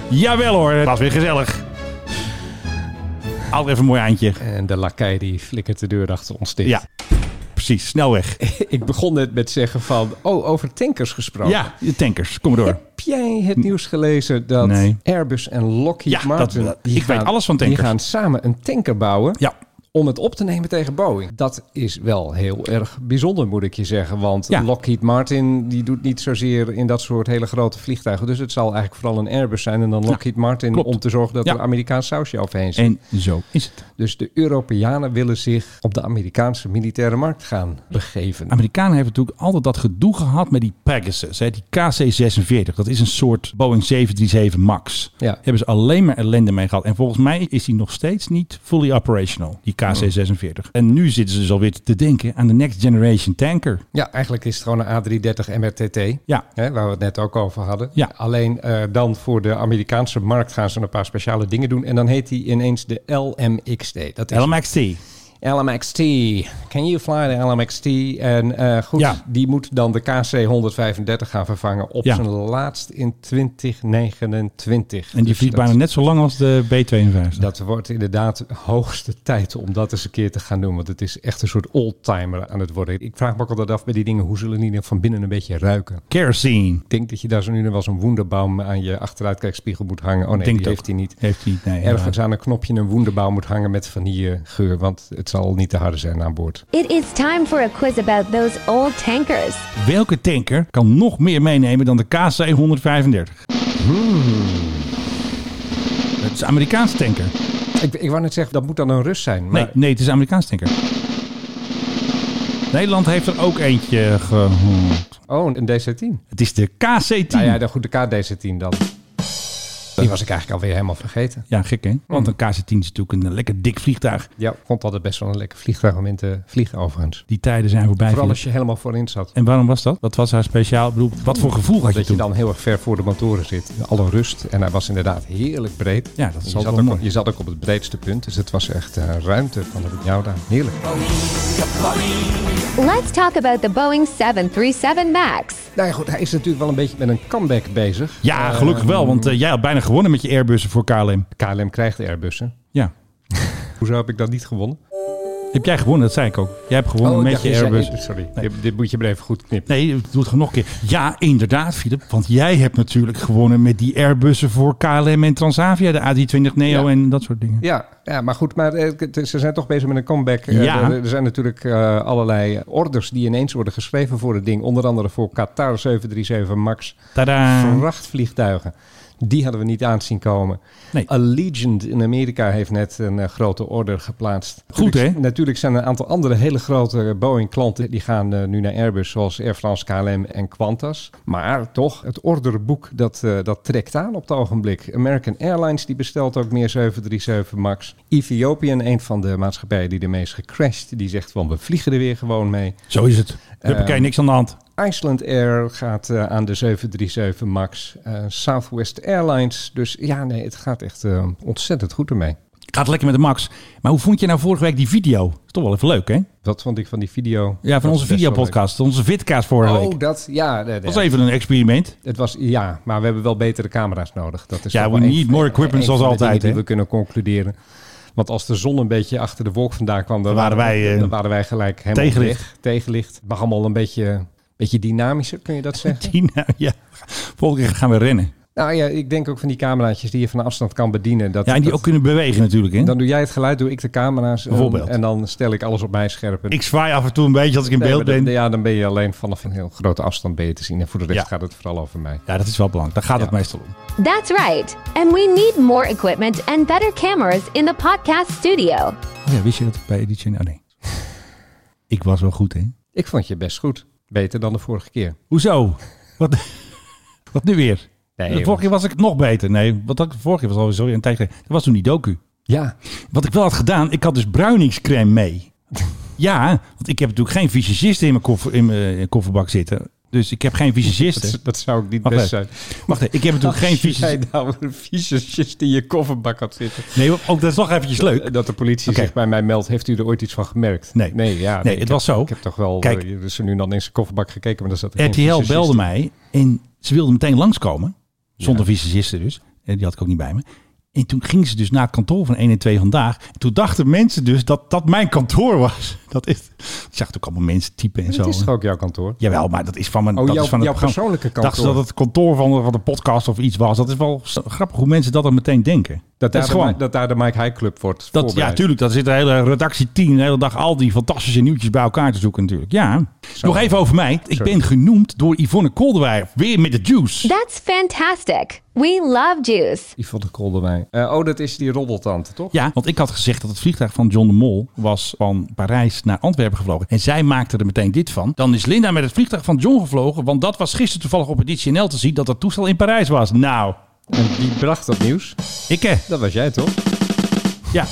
Jawel hoor, het was weer gezellig. Altijd even een mooi eindje. En de lakai die flikkert de deur achter ons dicht. Ja, precies. Snel weg. Ik begon net met zeggen van, oh, over tankers gesproken. Ja, de tankers. Kom maar door. Heb jij het nieuws gelezen dat Nee. Airbus en Lockheed Ja, dat- Martin... dat- die ik weet alles van tankers. Die gaan samen een tanker bouwen. Ja. om het op te nemen tegen Boeing. Dat is wel heel erg bijzonder, moet ik je zeggen. Want Ja. Lockheed Martin die doet niet zozeer in dat soort hele grote vliegtuigen. Dus het zal eigenlijk vooral een Airbus zijn en dan Lockheed Martin... klopt. om te zorgen dat Ja. er Amerikaans sausje overheen zit. En zo is het. Dus de Europeanen willen zich op de Amerikaanse militaire markt gaan begeven. Amerikanen hebben natuurlijk altijd dat gedoe gehad met die Pegasus. Hè, die KC-46. Dat is een soort Boeing 737 MAX. Ja. Daar Hebben ze alleen maar ellende mee gehad. En volgens mij is die nog steeds niet fully operational. Die KC-46. Oh. En nu zitten ze dus alweer te denken aan de next generation tanker. Ja, eigenlijk is het gewoon een A330 MRTT. Ja. Hè, waar we het net ook over hadden. Ja. Alleen eh, dan voor de Amerikaanse markt gaan ze een paar speciale dingen doen. En dan heet die ineens de LMXT. Dat is LMXT. LMXT. Can you fly the LMXT? En eh, goed, Ja. die moet dan de KC-135 gaan vervangen op Ja. zijn laatst in 2029. En die Dus vliegt dat- bijna net zo lang als de B-52. Dat wordt inderdaad hoogste tijd om dat eens een keer te gaan doen. Want het is echt een soort oldtimer aan het worden. Ik vraag me ook altijd af bij die dingen, hoe zullen die dan van binnen een beetje ruiken? Kerosene. Ik denk dat je daar zo nu en dan wel zo'n wonderbaum aan je achteruitkijkspiegel moet hangen. Oh nee, Denk die het heeft ook. hij niet. Heeft hij niet, nee, Ergens inderdaad. aan een knopje een wonderbaum moet hangen met vanillegeur. Want het zal niet te harde zijn aan boord. It is time for a quiz about those old tankers. Welke tanker kan nog meer meenemen dan de KC-135? Hmm. Het is een Amerikaanse tanker. Ik, ik wou net zeggen, dat moet dan een Rus zijn. Maar Nee, nee, het is een Amerikaanse tanker. Nederland heeft er ook eentje gehoord. Oh, een DC-10. Het is de KC-10. Nou ja, ja, dan goed, de KDC-10 dan. Die was ik eigenlijk alweer helemaal vergeten. gek hè? Want een KC-10 is natuurlijk een lekker dik vliegtuig. Ja, ik vond altijd best wel een lekker vliegtuig om in te vliegen overigens. Die tijden zijn voorbij. Vooral als Philip. je helemaal voorin zat. En waarom was dat? Wat was haar speciaal? Ik bedoel, wat voor gevoel had je Dat je toen? dan heel erg ver voor de motoren zit. Alle rust. En hij was inderdaad heerlijk breed. Ja, dat is je, altijd zat wel ook, mooi. je zat ook op het breedste punt. Dus het was echt eh, ruimte van de Jauda. Heerlijk. Let's talk about the Boeing 737 MAX. Nou ja, goed. Hij is natuurlijk wel een beetje met een comeback bezig. Ja, Eh, gelukkig wel, want eh, jij had bijna gewonnen met je Airbussen voor KLM. KLM krijgt Airbussen. Ja. Hoezo heb ik dat niet gewonnen? Heb jij gewonnen? Dat zei ik ook. Jij hebt gewonnen Oh, ik met dacht, je zei- Airbus. sorry. Dit, dit moet je maar even goed knippen. Nee, doe het gewoon nog een keer. Ja, inderdaad, Filip. Want jij hebt natuurlijk gewonnen met die Airbussen voor KLM en Transavia. De A320 Neo Ja. en dat soort dingen. Ja, ja, maar goed, maar eh, het- ze zijn toch bezig met een comeback. Eh, Ja. Er, er zijn natuurlijk eh, allerlei orders die ineens worden geschreven voor het ding. Onder andere voor Qatar 737 MAX. Tadaa. Vrachtvliegtuigen. Die hadden we niet aan zien komen. Nee. Ah. Allegiant in Amerika heeft net een eh, grote order geplaatst. Goed, Natuurlijk- hè? Natuurlijk zijn er een aantal andere hele grote Boeing-klanten... die gaan eh, nu naar Airbus, zoals Air France, KLM en Qantas. Maar toch, het orderboek dat, eh, dat trekt aan op het ogenblik. American Airlines die bestelt ook meer 737 MAX. Ethiopian, een van de maatschappijen die de meest gecrashed... die zegt van, we vliegen er weer gewoon mee. Zo is het. Huppakee, Ehm, niks aan de hand. Iceland Air gaat eh, aan de 737 MAX. eh, Southwest Airlines. Dus ja, nee, het gaat echt eh, ontzettend goed ermee. Gaat lekker met de Max. Maar hoe vond je nou vorige week die video? Is toch wel even leuk, hè? Wat vond ik van die video? Ja, van Dat onze is best wel videopodcast. Onze vidcast leuk. vorige week. Oh, dat, ja. nee, nee. Dat was even een experiment. Het was, ja, maar we hebben wel betere camera's nodig. Dat is Ja, toch we wel need een- more equipment een van zoals de dingen altijd, Die hè? we kunnen concluderen. Want als de zon een beetje achter de wolk vandaan kwam, dan, Dan waren wij, eh, dan waren wij gelijk helemaal tegenlicht. weg. Tegenlicht. Het mag allemaal een beetje, beetje dynamischer, kun je dat zeggen? Tina, nou, ja. Volgende keer gaan we rennen. Nou ja, ik denk ook van die cameraatjes die je van afstand kan bedienen. Dat, Ja, en die dat- ook kunnen bewegen natuurlijk, hè? Dan doe jij het geluid, doe ik de camera's. um, Bijvoorbeeld. en dan stel ik alles op mijn scherp. En- Ik zwaai af en toe een beetje als ik in Nee, beeld maar dan- ben. Ja, dan ben je alleen vanaf een heel grote afstand ben je te zien. En voor de rest Ja. gaat het vooral over mij. Ja, dat is wel belangrijk. Daar gaat het Ja. meestal om. That's right. And we need more equipment and better cameras in the podcast studio. Oh ja, wist je dat bij Edition? Oh nee. Ik was wel goed, hè? Ik vond je best goed. Beter dan de vorige keer. Hoezo? Wat, wat nu weer? Nee, de joh. vorige keer was ik nog beter. Nee, wat ik de vorige keer was alweer sorry, een tijd geleden. Dat was toen die docu. Ja, Wat ik wel had gedaan, ik had dus bruiningscrème mee. ja, want ik heb natuurlijk geen fysicist in mijn, koffer, in mijn eh, kofferbak zitten. Dus ik heb geen fysicist. dat, dat zou ook niet Wacht best zijn. even. Wacht even, ik heb natuurlijk geen Als jij fysicist. nou een fysicist in je kofferbak had zitten. eh, Nee, ook dat is nog eventjes leuk. Dat de politie Oké. zich bij mij meldt. Heeft u er ooit iets van gemerkt? Nee. Nee, Nee, ja, ik het heb- was zo. Ik heb toch wel Kijk. eh, dus nu en dan in zijn kofferbak gekeken. Maar daar zat er geen RTL fysicist belde in. mij en ze wilde meteen langskomen. Zonder visagisten dus. En die had ik ook niet bij me. En toen ging ze dus naar het kantoor van 1 en 2 vandaag. En toen dachten mensen dus dat dat mijn kantoor was. Dat is, ik zag ook allemaal mensen typen en zo. Het is toch ook jouw kantoor? Jawel, maar dat is van mijn, Oh, dat jouw- is van het jouw programma. persoonlijke Dachten ze kantoor. dat het kantoor van de, van de podcast of iets was. Dat is wel s- grappig hoe mensen dat dan meteen denken. Dat, daar is de gewoon... Mi- dat daar de Mike High Club wordt Dat, ja, voorbereid. tuurlijk. Daar zit de hele redactieteam de hele dag al die fantastische nieuwtjes bij elkaar te zoeken natuurlijk. Ja. Nog even over mij. Ik ben genoemd door Yvonne Kolderweijer. Weer met de juice. That's fantastic. We love juice. Yvonne Kolderwijn. Eh oh, dat is die roddeltante, toch? Ja, want ik had gezegd dat het vliegtuig van John de Mol was van Parijs naar Antwerpen gevlogen. En zij maakte er meteen dit van. Dan is Linda met het vliegtuig van John gevlogen, want dat was gisteren toevallig op Editie NL te zien dat dat toestel in Parijs was. Nou, En die bracht dat nieuws. ikke. Dat was jij, toch? Ja,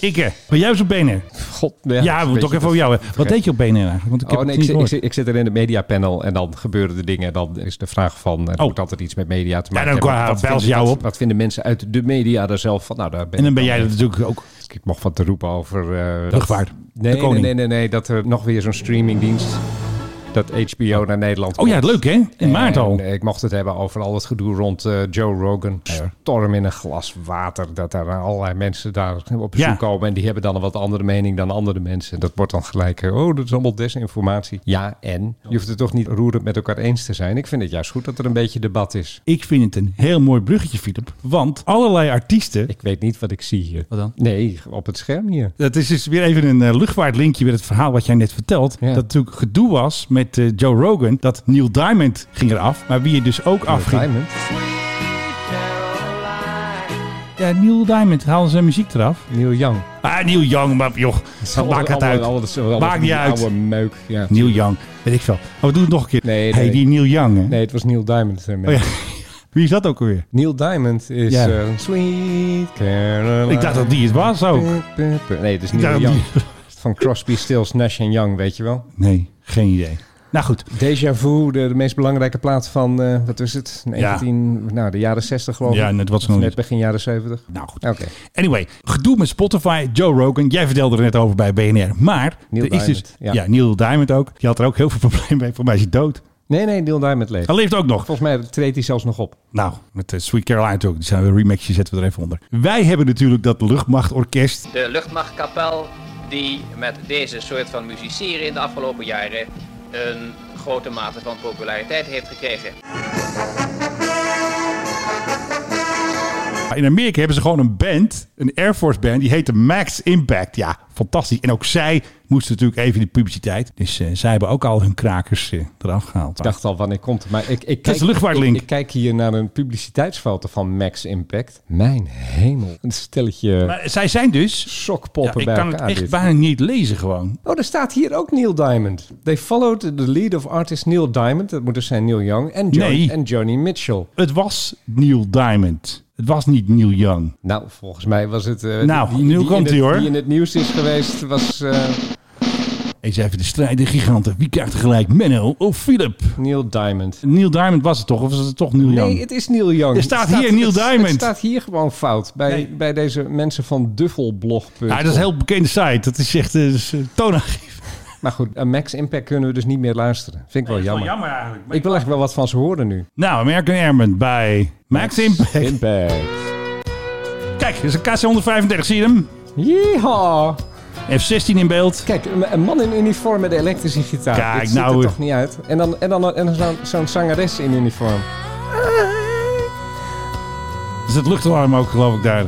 ikke. Ben jij dus op benen? god. Ja, we moeten ook even over jou. hè. Wat deed je op BNR eigenlijk? Want ik heb oh, het nee, niet ik, zit- ik, gehoord. zit- ik zit er in het mediapanel en dan gebeuren de dingen. En dan is de vraag van, er Oh. moet altijd iets met media Ja, te maken dan hebben. kwamen- Wat bel ze vinden- jou wat- op. Wat vinden mensen uit de media daar zelf van? Nou, daar ben en dan ben ik jij dat natuurlijk ook. Ik mocht wat te roepen over... eh, Rugvaart. Nee, De nee, koning. nee, nee, nee, dat er nog weer zo'n streamingdienst... Dat HBO naar Nederland Oh ja, komt. leuk hè? In maart En, al. eh, Ik mocht het hebben over al het gedoe rond eh, Joe Rogan. Storm in een glas water. Dat er allerlei mensen daar op bezoek Ja. komen. En die hebben dan een wat andere mening dan andere mensen. Dat wordt dan gelijk, eh, oh, dat is allemaal desinformatie. Ja, en? Je hoeft het toch niet roerend met elkaar eens te zijn. Ik vind het juist goed dat er een beetje debat is. Ik vind het een heel mooi bruggetje, Philip. Want allerlei artiesten. Ik weet niet wat ik zie hier. Wat dan? Nee, op het scherm hier. Dat is dus weer even een eh, luchtvaartlinkje met het verhaal wat jij net vertelt. Ja. Dat natuurlijk gedoe was met eh, Joe Rogan. Dat Neil Diamond ging eraf. Maar wie er dus ook afging. Diamond. Ja, Neil Diamond haalde zijn muziek eraf. Neil Young. Ah, Neil Young, maar joh, maakt het uit. Maakt niet uit. Oude meuk. Ja. Neil Young, weet ik veel. Oh, we doen het nog een keer. Nee, Hey, nee. die Neil Young, hè? Nee, het was Neil Diamond. eh, Oh, ja. Wie is dat ook alweer? Neil Diamond is Ja. eh, Sweet Caroline. Ik dacht dat die het was ook. Pu- pu- pu- Nee, het is dacht Neil dat Young. Oh. die- Van Crosby, Stills, Nash en Young, weet je wel. Nee, geen idee. Nou goed, Deja Vu, de, de meest belangrijke plaat van, eh, wat is het? 19, nou, de jaren 60 geloof ik. Ja, net wat ze Of noemen. Net begin jaren 70. nou goed. Oké. Anyway, gedoe met Spotify, Joe Rogan. Jij vertelde er net over bij BNR. Maar Neil er is dus, Diamond, ja. ja. Neil Diamond ook. Die had er ook heel veel problemen mee. Voor mij is hij dood. Nee, nee, Neil Diamond leeft. Hij leeft ook nog. Volgens mij treedt hij zelfs nog op. Nou, met eh, Sweet Caroline ook. Die zijn we remixje zetten we er even onder. Wij hebben natuurlijk dat luchtmachtorkest. De luchtmachtkapel die met deze soort van musiceren in de afgelopen jaren een grote mate van populariteit heeft gekregen. Maar In Amerika hebben ze gewoon een band, een Air Force band, die heette Max Impact. Ja, fantastisch. En ook zij moesten natuurlijk even in de publiciteit. Dus eh, zij hebben ook al hun krakers eh, eraf gehaald. Ik dacht al, wanneer komt het? Maar ik, ik, is kijk, de luchtvaartlink. Ik, ik kijk hier naar een publiciteitsfoto van Max Impact. Mijn hemel. Een stelletje Maar zij zijn dus... Ja, sokpoppen ik bij kan elkaar. dus. het echt dit. bijna niet lezen gewoon. Oh, er staat hier ook Neil Diamond. They followed the lead of artist Neil Diamond. Dat moet dus zijn Neil Young. En, Jo- Nee. en Johnny Mitchell. Het was Neil Diamond. Het was niet Neil Young. Nou, volgens mij was het... eh, Nou, nu in komt het- ie, hoor. Die in het nieuws is geweest was eh, Eens even de strijd der giganten. Wie krijgt er gelijk? Menno of Philip? Neil Diamond. Neil Diamond was het toch? Of was het toch Neil Young? Nee, het is Neil Young. Er staat Het hier Neil het- Diamond. Het staat hier gewoon fout. Bij, Nee. bij deze mensen van duffelblog.com. Ja, dat is een heel bekende site. Dat is echt eh, dus, eh, toonaangeef. Maar goed, aan Max Impact kunnen we dus niet meer luisteren. Vind ik wel jammer. eigenlijk. Ik wil echt wel wat van ze horen nu. Nou, American Airman bij Max Impact. Impact. Kijk, dit is een KC-135, zie je hem? Yeehaw. F-16 in beeld. Kijk, een, een man in uniform met een elektrische gitaar. Kijk, Dit ziet nou, er eh. toch niet uit. En dan, en dan, en dan zo'n, zo'n zangeres in uniform. Eh. Dat is het luchtalarm ook, geloof ik, daar.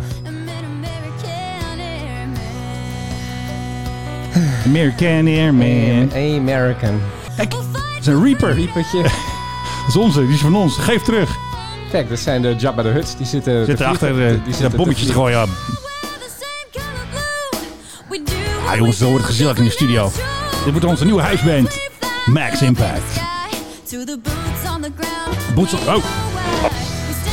American Airman. American. Kijk, dat is een Reaper. Dat Piepertje. is onze, die is van ons. Geef terug. Kijk, dat zijn de Jabba de Huts. Die zitten, te Zit vliegen. erachter Die eh, zitten zitten bommetjes te vliegen. gooien. Ja, jongens, zo wordt het gezellig in de studio. Dit wordt onze nieuwe huisband. Max Impact. Boots op- Oh,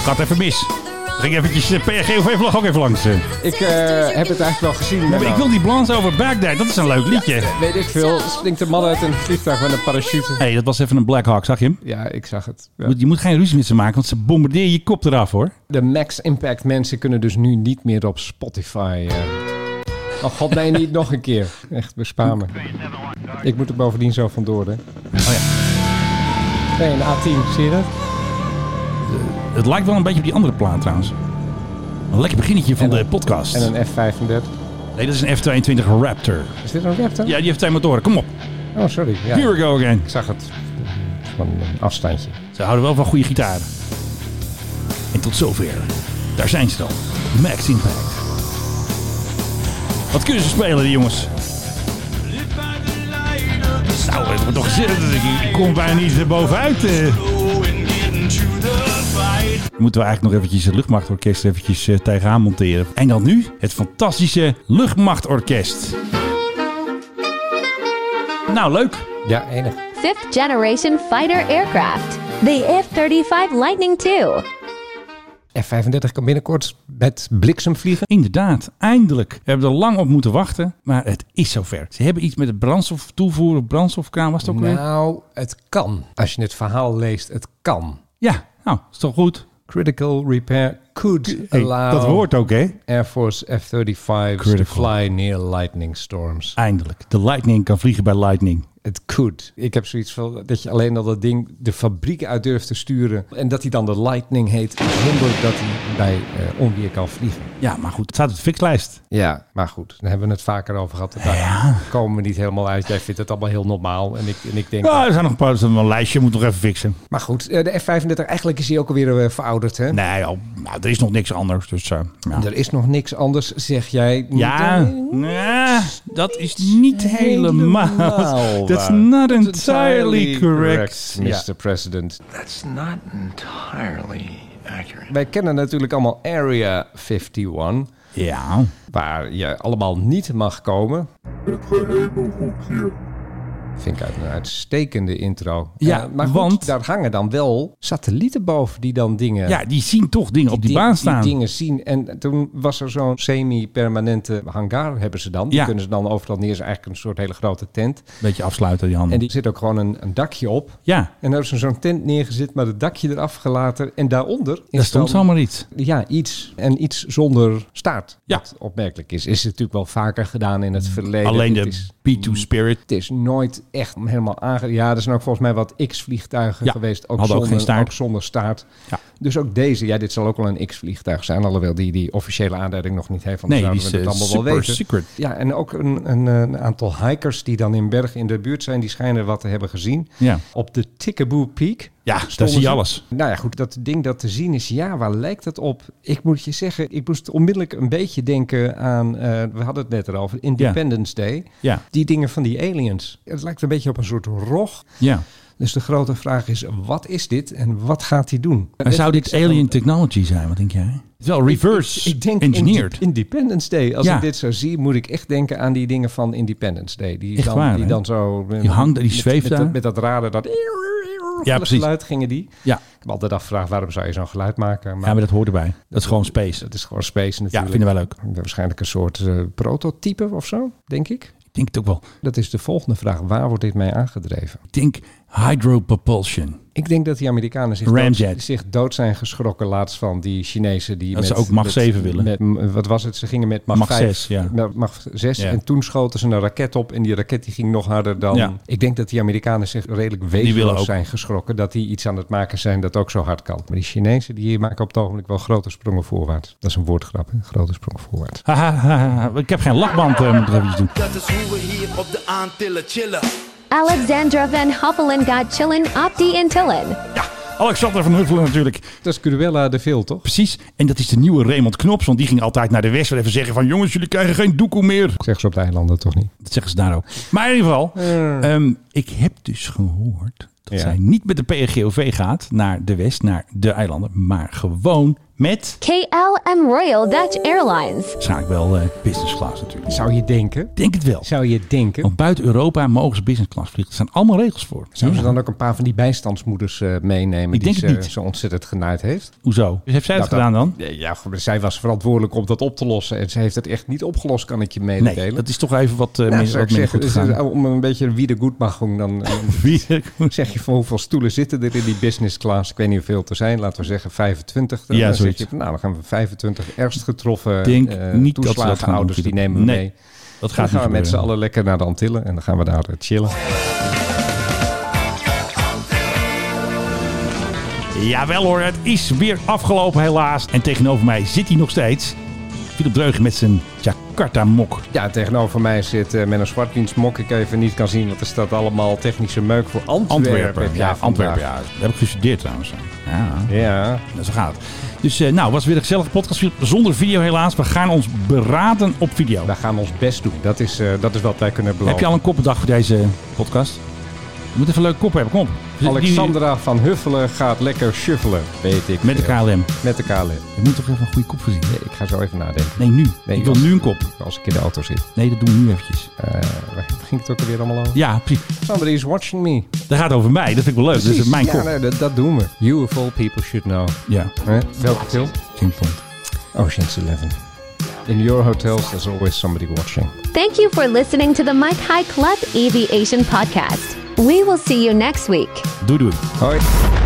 gaat even mis. Ging eventjes eh, de PRGOV-vlag ook even langs. eh. Ik eh, heb het eigenlijk wel gezien. Ja, maar ik wil die balans over Baghdad. Dat is een leuk liedje. Weet ik veel. Springt een man uit een vliegtuig met een parachute. hey, dat was even een Black Hawk, zag je hem? Ja, ik zag het. Ja. Moet- Je moet geen ruzie met ze maken, want ze bombarderen je kop eraf, hoor. De Max Impact mensen kunnen dus nu niet meer op Spotify. eh. Oh god, nee, niet nog een keer. Echt, bespaar me. Ik moet er bovendien zo vandoor, hè. Oh ja. Nee, een A10, zie je dat? Het lijkt wel een beetje op die andere plaat, trouwens. Een lekker beginnetje van En de een- podcast. En een F35. Nee, dat is een F-22 Raptor. Is dit een Raptor? Ja, die heeft twee motoren. Kom op. Oh, sorry. Ja, Here we go again. Ik zag het van een afstandje. Ze houden wel van goede gitaar. En tot zover. Daar zijn ze dan. Max Impact. Wat kunnen ze spelen, die jongens? Nou, het wordt toch gezellig. Ik- Ik kom bijna niet bovenuit. eh. Moeten we eigenlijk nog eventjes het luchtmachtorkest eventjes eh, tegenaan monteren. En dan nu het fantastische luchtmachtorkest. Nou, leuk. Ja, enig. Fifth generation fighter aircraft, the F 35 Lightning II. F-35 kan binnenkort met bliksem vliegen. Inderdaad, eindelijk. We hebben er lang op moeten wachten, maar het is zover. Ze hebben iets met het brandstof toevoeren, brandstofkraan was het ook weer? Nou, het kan. Als je het verhaal leest, het kan. Ja, nou, is toch goed? Critical repair could Hey, allow dat hoort ook, hè? Air Force F-35's to Critical. fly near lightning storms. Eindelijk. De Lightning kan vliegen bij Lightning. Het could. Ik heb zoiets van dat je alleen al dat ding de fabriek uit durft te sturen. En dat hij dan de lightning heet. Zonder dat hij bij eh, onweer kan vliegen. Ja, maar goed, het staat op de fixlijst. Ja, maar goed. Daar hebben we het vaker over gehad. Daar komen we niet helemaal uit. Jij vindt het allemaal heel normaal. En ik, en ik denk... Ja, er zijn nog een paar, er staat nog een lijstje, moet nog even fixen. Maar goed, eh, de F-35, eigenlijk is hij ook alweer eh, verouderd. Hè? Nee, al, nou, er is nog niks anders, dus eh, ja. Er is nog niks anders, zeg jij. Ja, Nee. nee, dat is niet helemaal. helemaal That's waar. not entirely correct. correct, Mr. Ja. President. That's not entirely accurate. Wij kennen natuurlijk allemaal Area 51, ja. waar je allemaal niet mag komen. Vind ik uit- een uitstekende intro. Ja, Eh, maar goed, want- daar hangen dan wel satellieten boven die dan dingen... Ja, die zien toch dingen op die ding- baan staan. dingen zien. En toen was er zo'n semi-permanente hangar hebben ze dan. Ja. Die kunnen ze dan overal neer. is eigenlijk een soort hele grote tent. Beetje afsluiten, die handen. En die zit ook gewoon een, een dakje op. Ja, En daar hebben ze zo'n tent neergezet, maar het dakje eraf gelaten. En daaronder daar is stond dan, zomaar iets. ja, iets. En iets zonder staart. Ja. Wat opmerkelijk is. Is het natuurlijk wel vaker gedaan in het verleden. Alleen Het de is- Mm. P2 Spirit. het is nooit echt helemaal aange... Ja, er zijn ook volgens mij wat X-vliegtuigen Ja, geweest. Ook hadden ook zonder, geen staart. ook zonder staart. Ja. Dus ook deze. Ja, dit zal ook wel een X-vliegtuig zijn. Alhoewel die die officiële aanduiding nog niet heeft. Want Nee, dan die zouden is we het eh, allemaal wel super weten. secret. Ja, en ook een, een, eh, een aantal hikers die dan in bergen in de buurt zijn. Die schijnen wat te hebben gezien. Ja. Op de Tickaboo Peak. Ja, stonden daar zie je ze- alles. Nou ja, goed. Dat ding dat te zien is. Ja, waar lijkt het op? Ik moet je zeggen, ik moest onmiddellijk een beetje denken aan... eh, we hadden het net erover. Independence Day. Ja, Die dingen van die aliens. Het lijkt een beetje op een soort rog. ja. Dus de grote vraag is, wat is dit en wat gaat hij doen? Dus En zou dit alien technology zijn, wat denk jij? Het is wel reverse Ik denk engineered. Indi- Independence Day. Als Ja. ik dit zo zie, moet ik echt denken aan die dingen van Independence Day. Die Echt dan, waar, die hè? dan zo... eh, Die hangt er, die met- zweeft met, daar. dat- Met dat raden, dat... Ja, precies. geluid gingen die. Ja. Ik heb me altijd afgevraagd, waarom zou je zo'n geluid maken? ja, maar dat hoort erbij. Dat is gewoon space. dat is gewoon space Ja, natuurlijk. vinden wij leuk. Waarschijnlijk een soort eh, prototype of zo, denk ik. Ik denk het ook wel. Dat is de volgende vraag. Waar wordt dit mee aangedreven? Ik denk hydropropulsion. Ik denk dat die Amerikanen zich, Ramjet. dood, zich dood zijn geschrokken laatst van die Chinezen. Die Dat ze ook Mach 7 willen. met- m- wat was het? Ze gingen met Mach, Mach 5, 6, ja. met Mach 6 Ja. en toen schoten ze een raket op en die raket die ging nog harder dan... Ja. Ik denk dat die Amerikanen zich redelijk willen ook. wezenloos zijn geschrokken. Dat die iets aan het maken zijn dat ook zo hard kan. Maar die Chinezen die maken op het ogenblik wel grote sprongen voorwaarts. Dat is een woordgrap, hè? grote sprongen voorwaarts. Haha, ik heb geen lachband, eh, moet ik even doen. Dat is hoe we hier op de aantillen chillen. Alexandra Van Hoppelen got chillin' opti and tillin'. Alexander van Huffelen natuurlijk. Dat is Cruella de Vil, toch? Precies. En dat is de nieuwe Raymond Knops. Want die ging altijd naar de West. Even zeggen van jongens, jullie krijgen geen doekoe meer. Zeg ze op de eilanden toch niet? Dat zeggen ze daar ook. Maar in ieder geval, ehm, ik heb dus gehoord dat Ja. zij niet met de PRGOV gaat naar de West, naar de eilanden. Maar gewoon met, KLM Royal Dutch Airlines. waarschijnlijk wel eh, business class natuurlijk. Zou je denken? Ik denk het wel. Zou je denken? Want buiten Europa mogen ze business class vliegen. Er zijn allemaal regels voor. Zouden ze dan ook een paar van die bijstandsmoeders eh, meenemen Ik die denk het ze niet. zo ontzettend genaaid heeft? Hoezo? Dus heeft zij dat Nou, gedaan dan? Ja, ja, goed, zij was verantwoordelijk om dat op te lossen. En ze heeft het echt niet opgelost, kan ik je mededelen. Nee, dat is toch even wat, eh Nou, min- zou wat minder ik zeggen, goed dus, gegaan. eh, om een beetje wie de goed mag doen, dan eh, zeg je van hoeveel stoelen zitten er in die business class. Ik weet niet hoeveel er zijn, laten we zeggen 25. Dan, Ja, dan zeg zoiets. je van, nou, dan gaan we 25 ergst getroffen Ik denk eh, niet dat ze dat gaan toeslagenhouders, die doen. nemen we Nee, mee. Dat Dan gaat gaan we niet met z'n gebeuren. allen lekker naar de Antillen en dan gaan we daar eh, chillen. Jawel hoor, het is weer afgelopen helaas. En tegenover mij zit hij nog steeds. Philip Dreugen met zijn Jakarta-mok. Ja, tegenover mij zit eh, Menno Zwartwiens mok. Ik even niet kan zien, want er staat allemaal technische meuk voor Antwerpen. Antwerpen. heb jij Ja, vandaag. Antwerpen. Ja, daar heb ik gestudeerd trouwens. Ja, Ja. nou, zo gaat het. Dus eh, nou, was weer een gezellige podcast Philip. zonder video helaas. We gaan ons beraden op video. wij gaan ons best doen. Dat is, eh, dat is wat wij kunnen beloven. Heb je al een koppendag voor deze podcast? Je moet even een leuke kop hebben, kom op. Alexandra van Huffelen gaat lekker shuffelen, weet ik. Met de veel. KLM. Met de KLM. Je moet toch even een goede kop voorzien. Nee, ik ga zo even nadenken. Nee, nu. Nee, ik wil als- nu een kop. Als ik in de auto zit. Nee, dat doen we nu eventjes. Eh, waar ging het ook alweer allemaal over? Ja, precies. Somebody is watching me. Dat gaat over mij. Dat vind ik wel leuk. Dat is dus mijn ja, kop. nee, dat, dat doen we. UFO people should know. Ja, Hè? Welke film? simpel. Ocean's Eleven. In your hotels there's always somebody watching. Thank you for listening to the Mike High Club Aviation Podcast. We will see you next week. Doei doei. Hoi.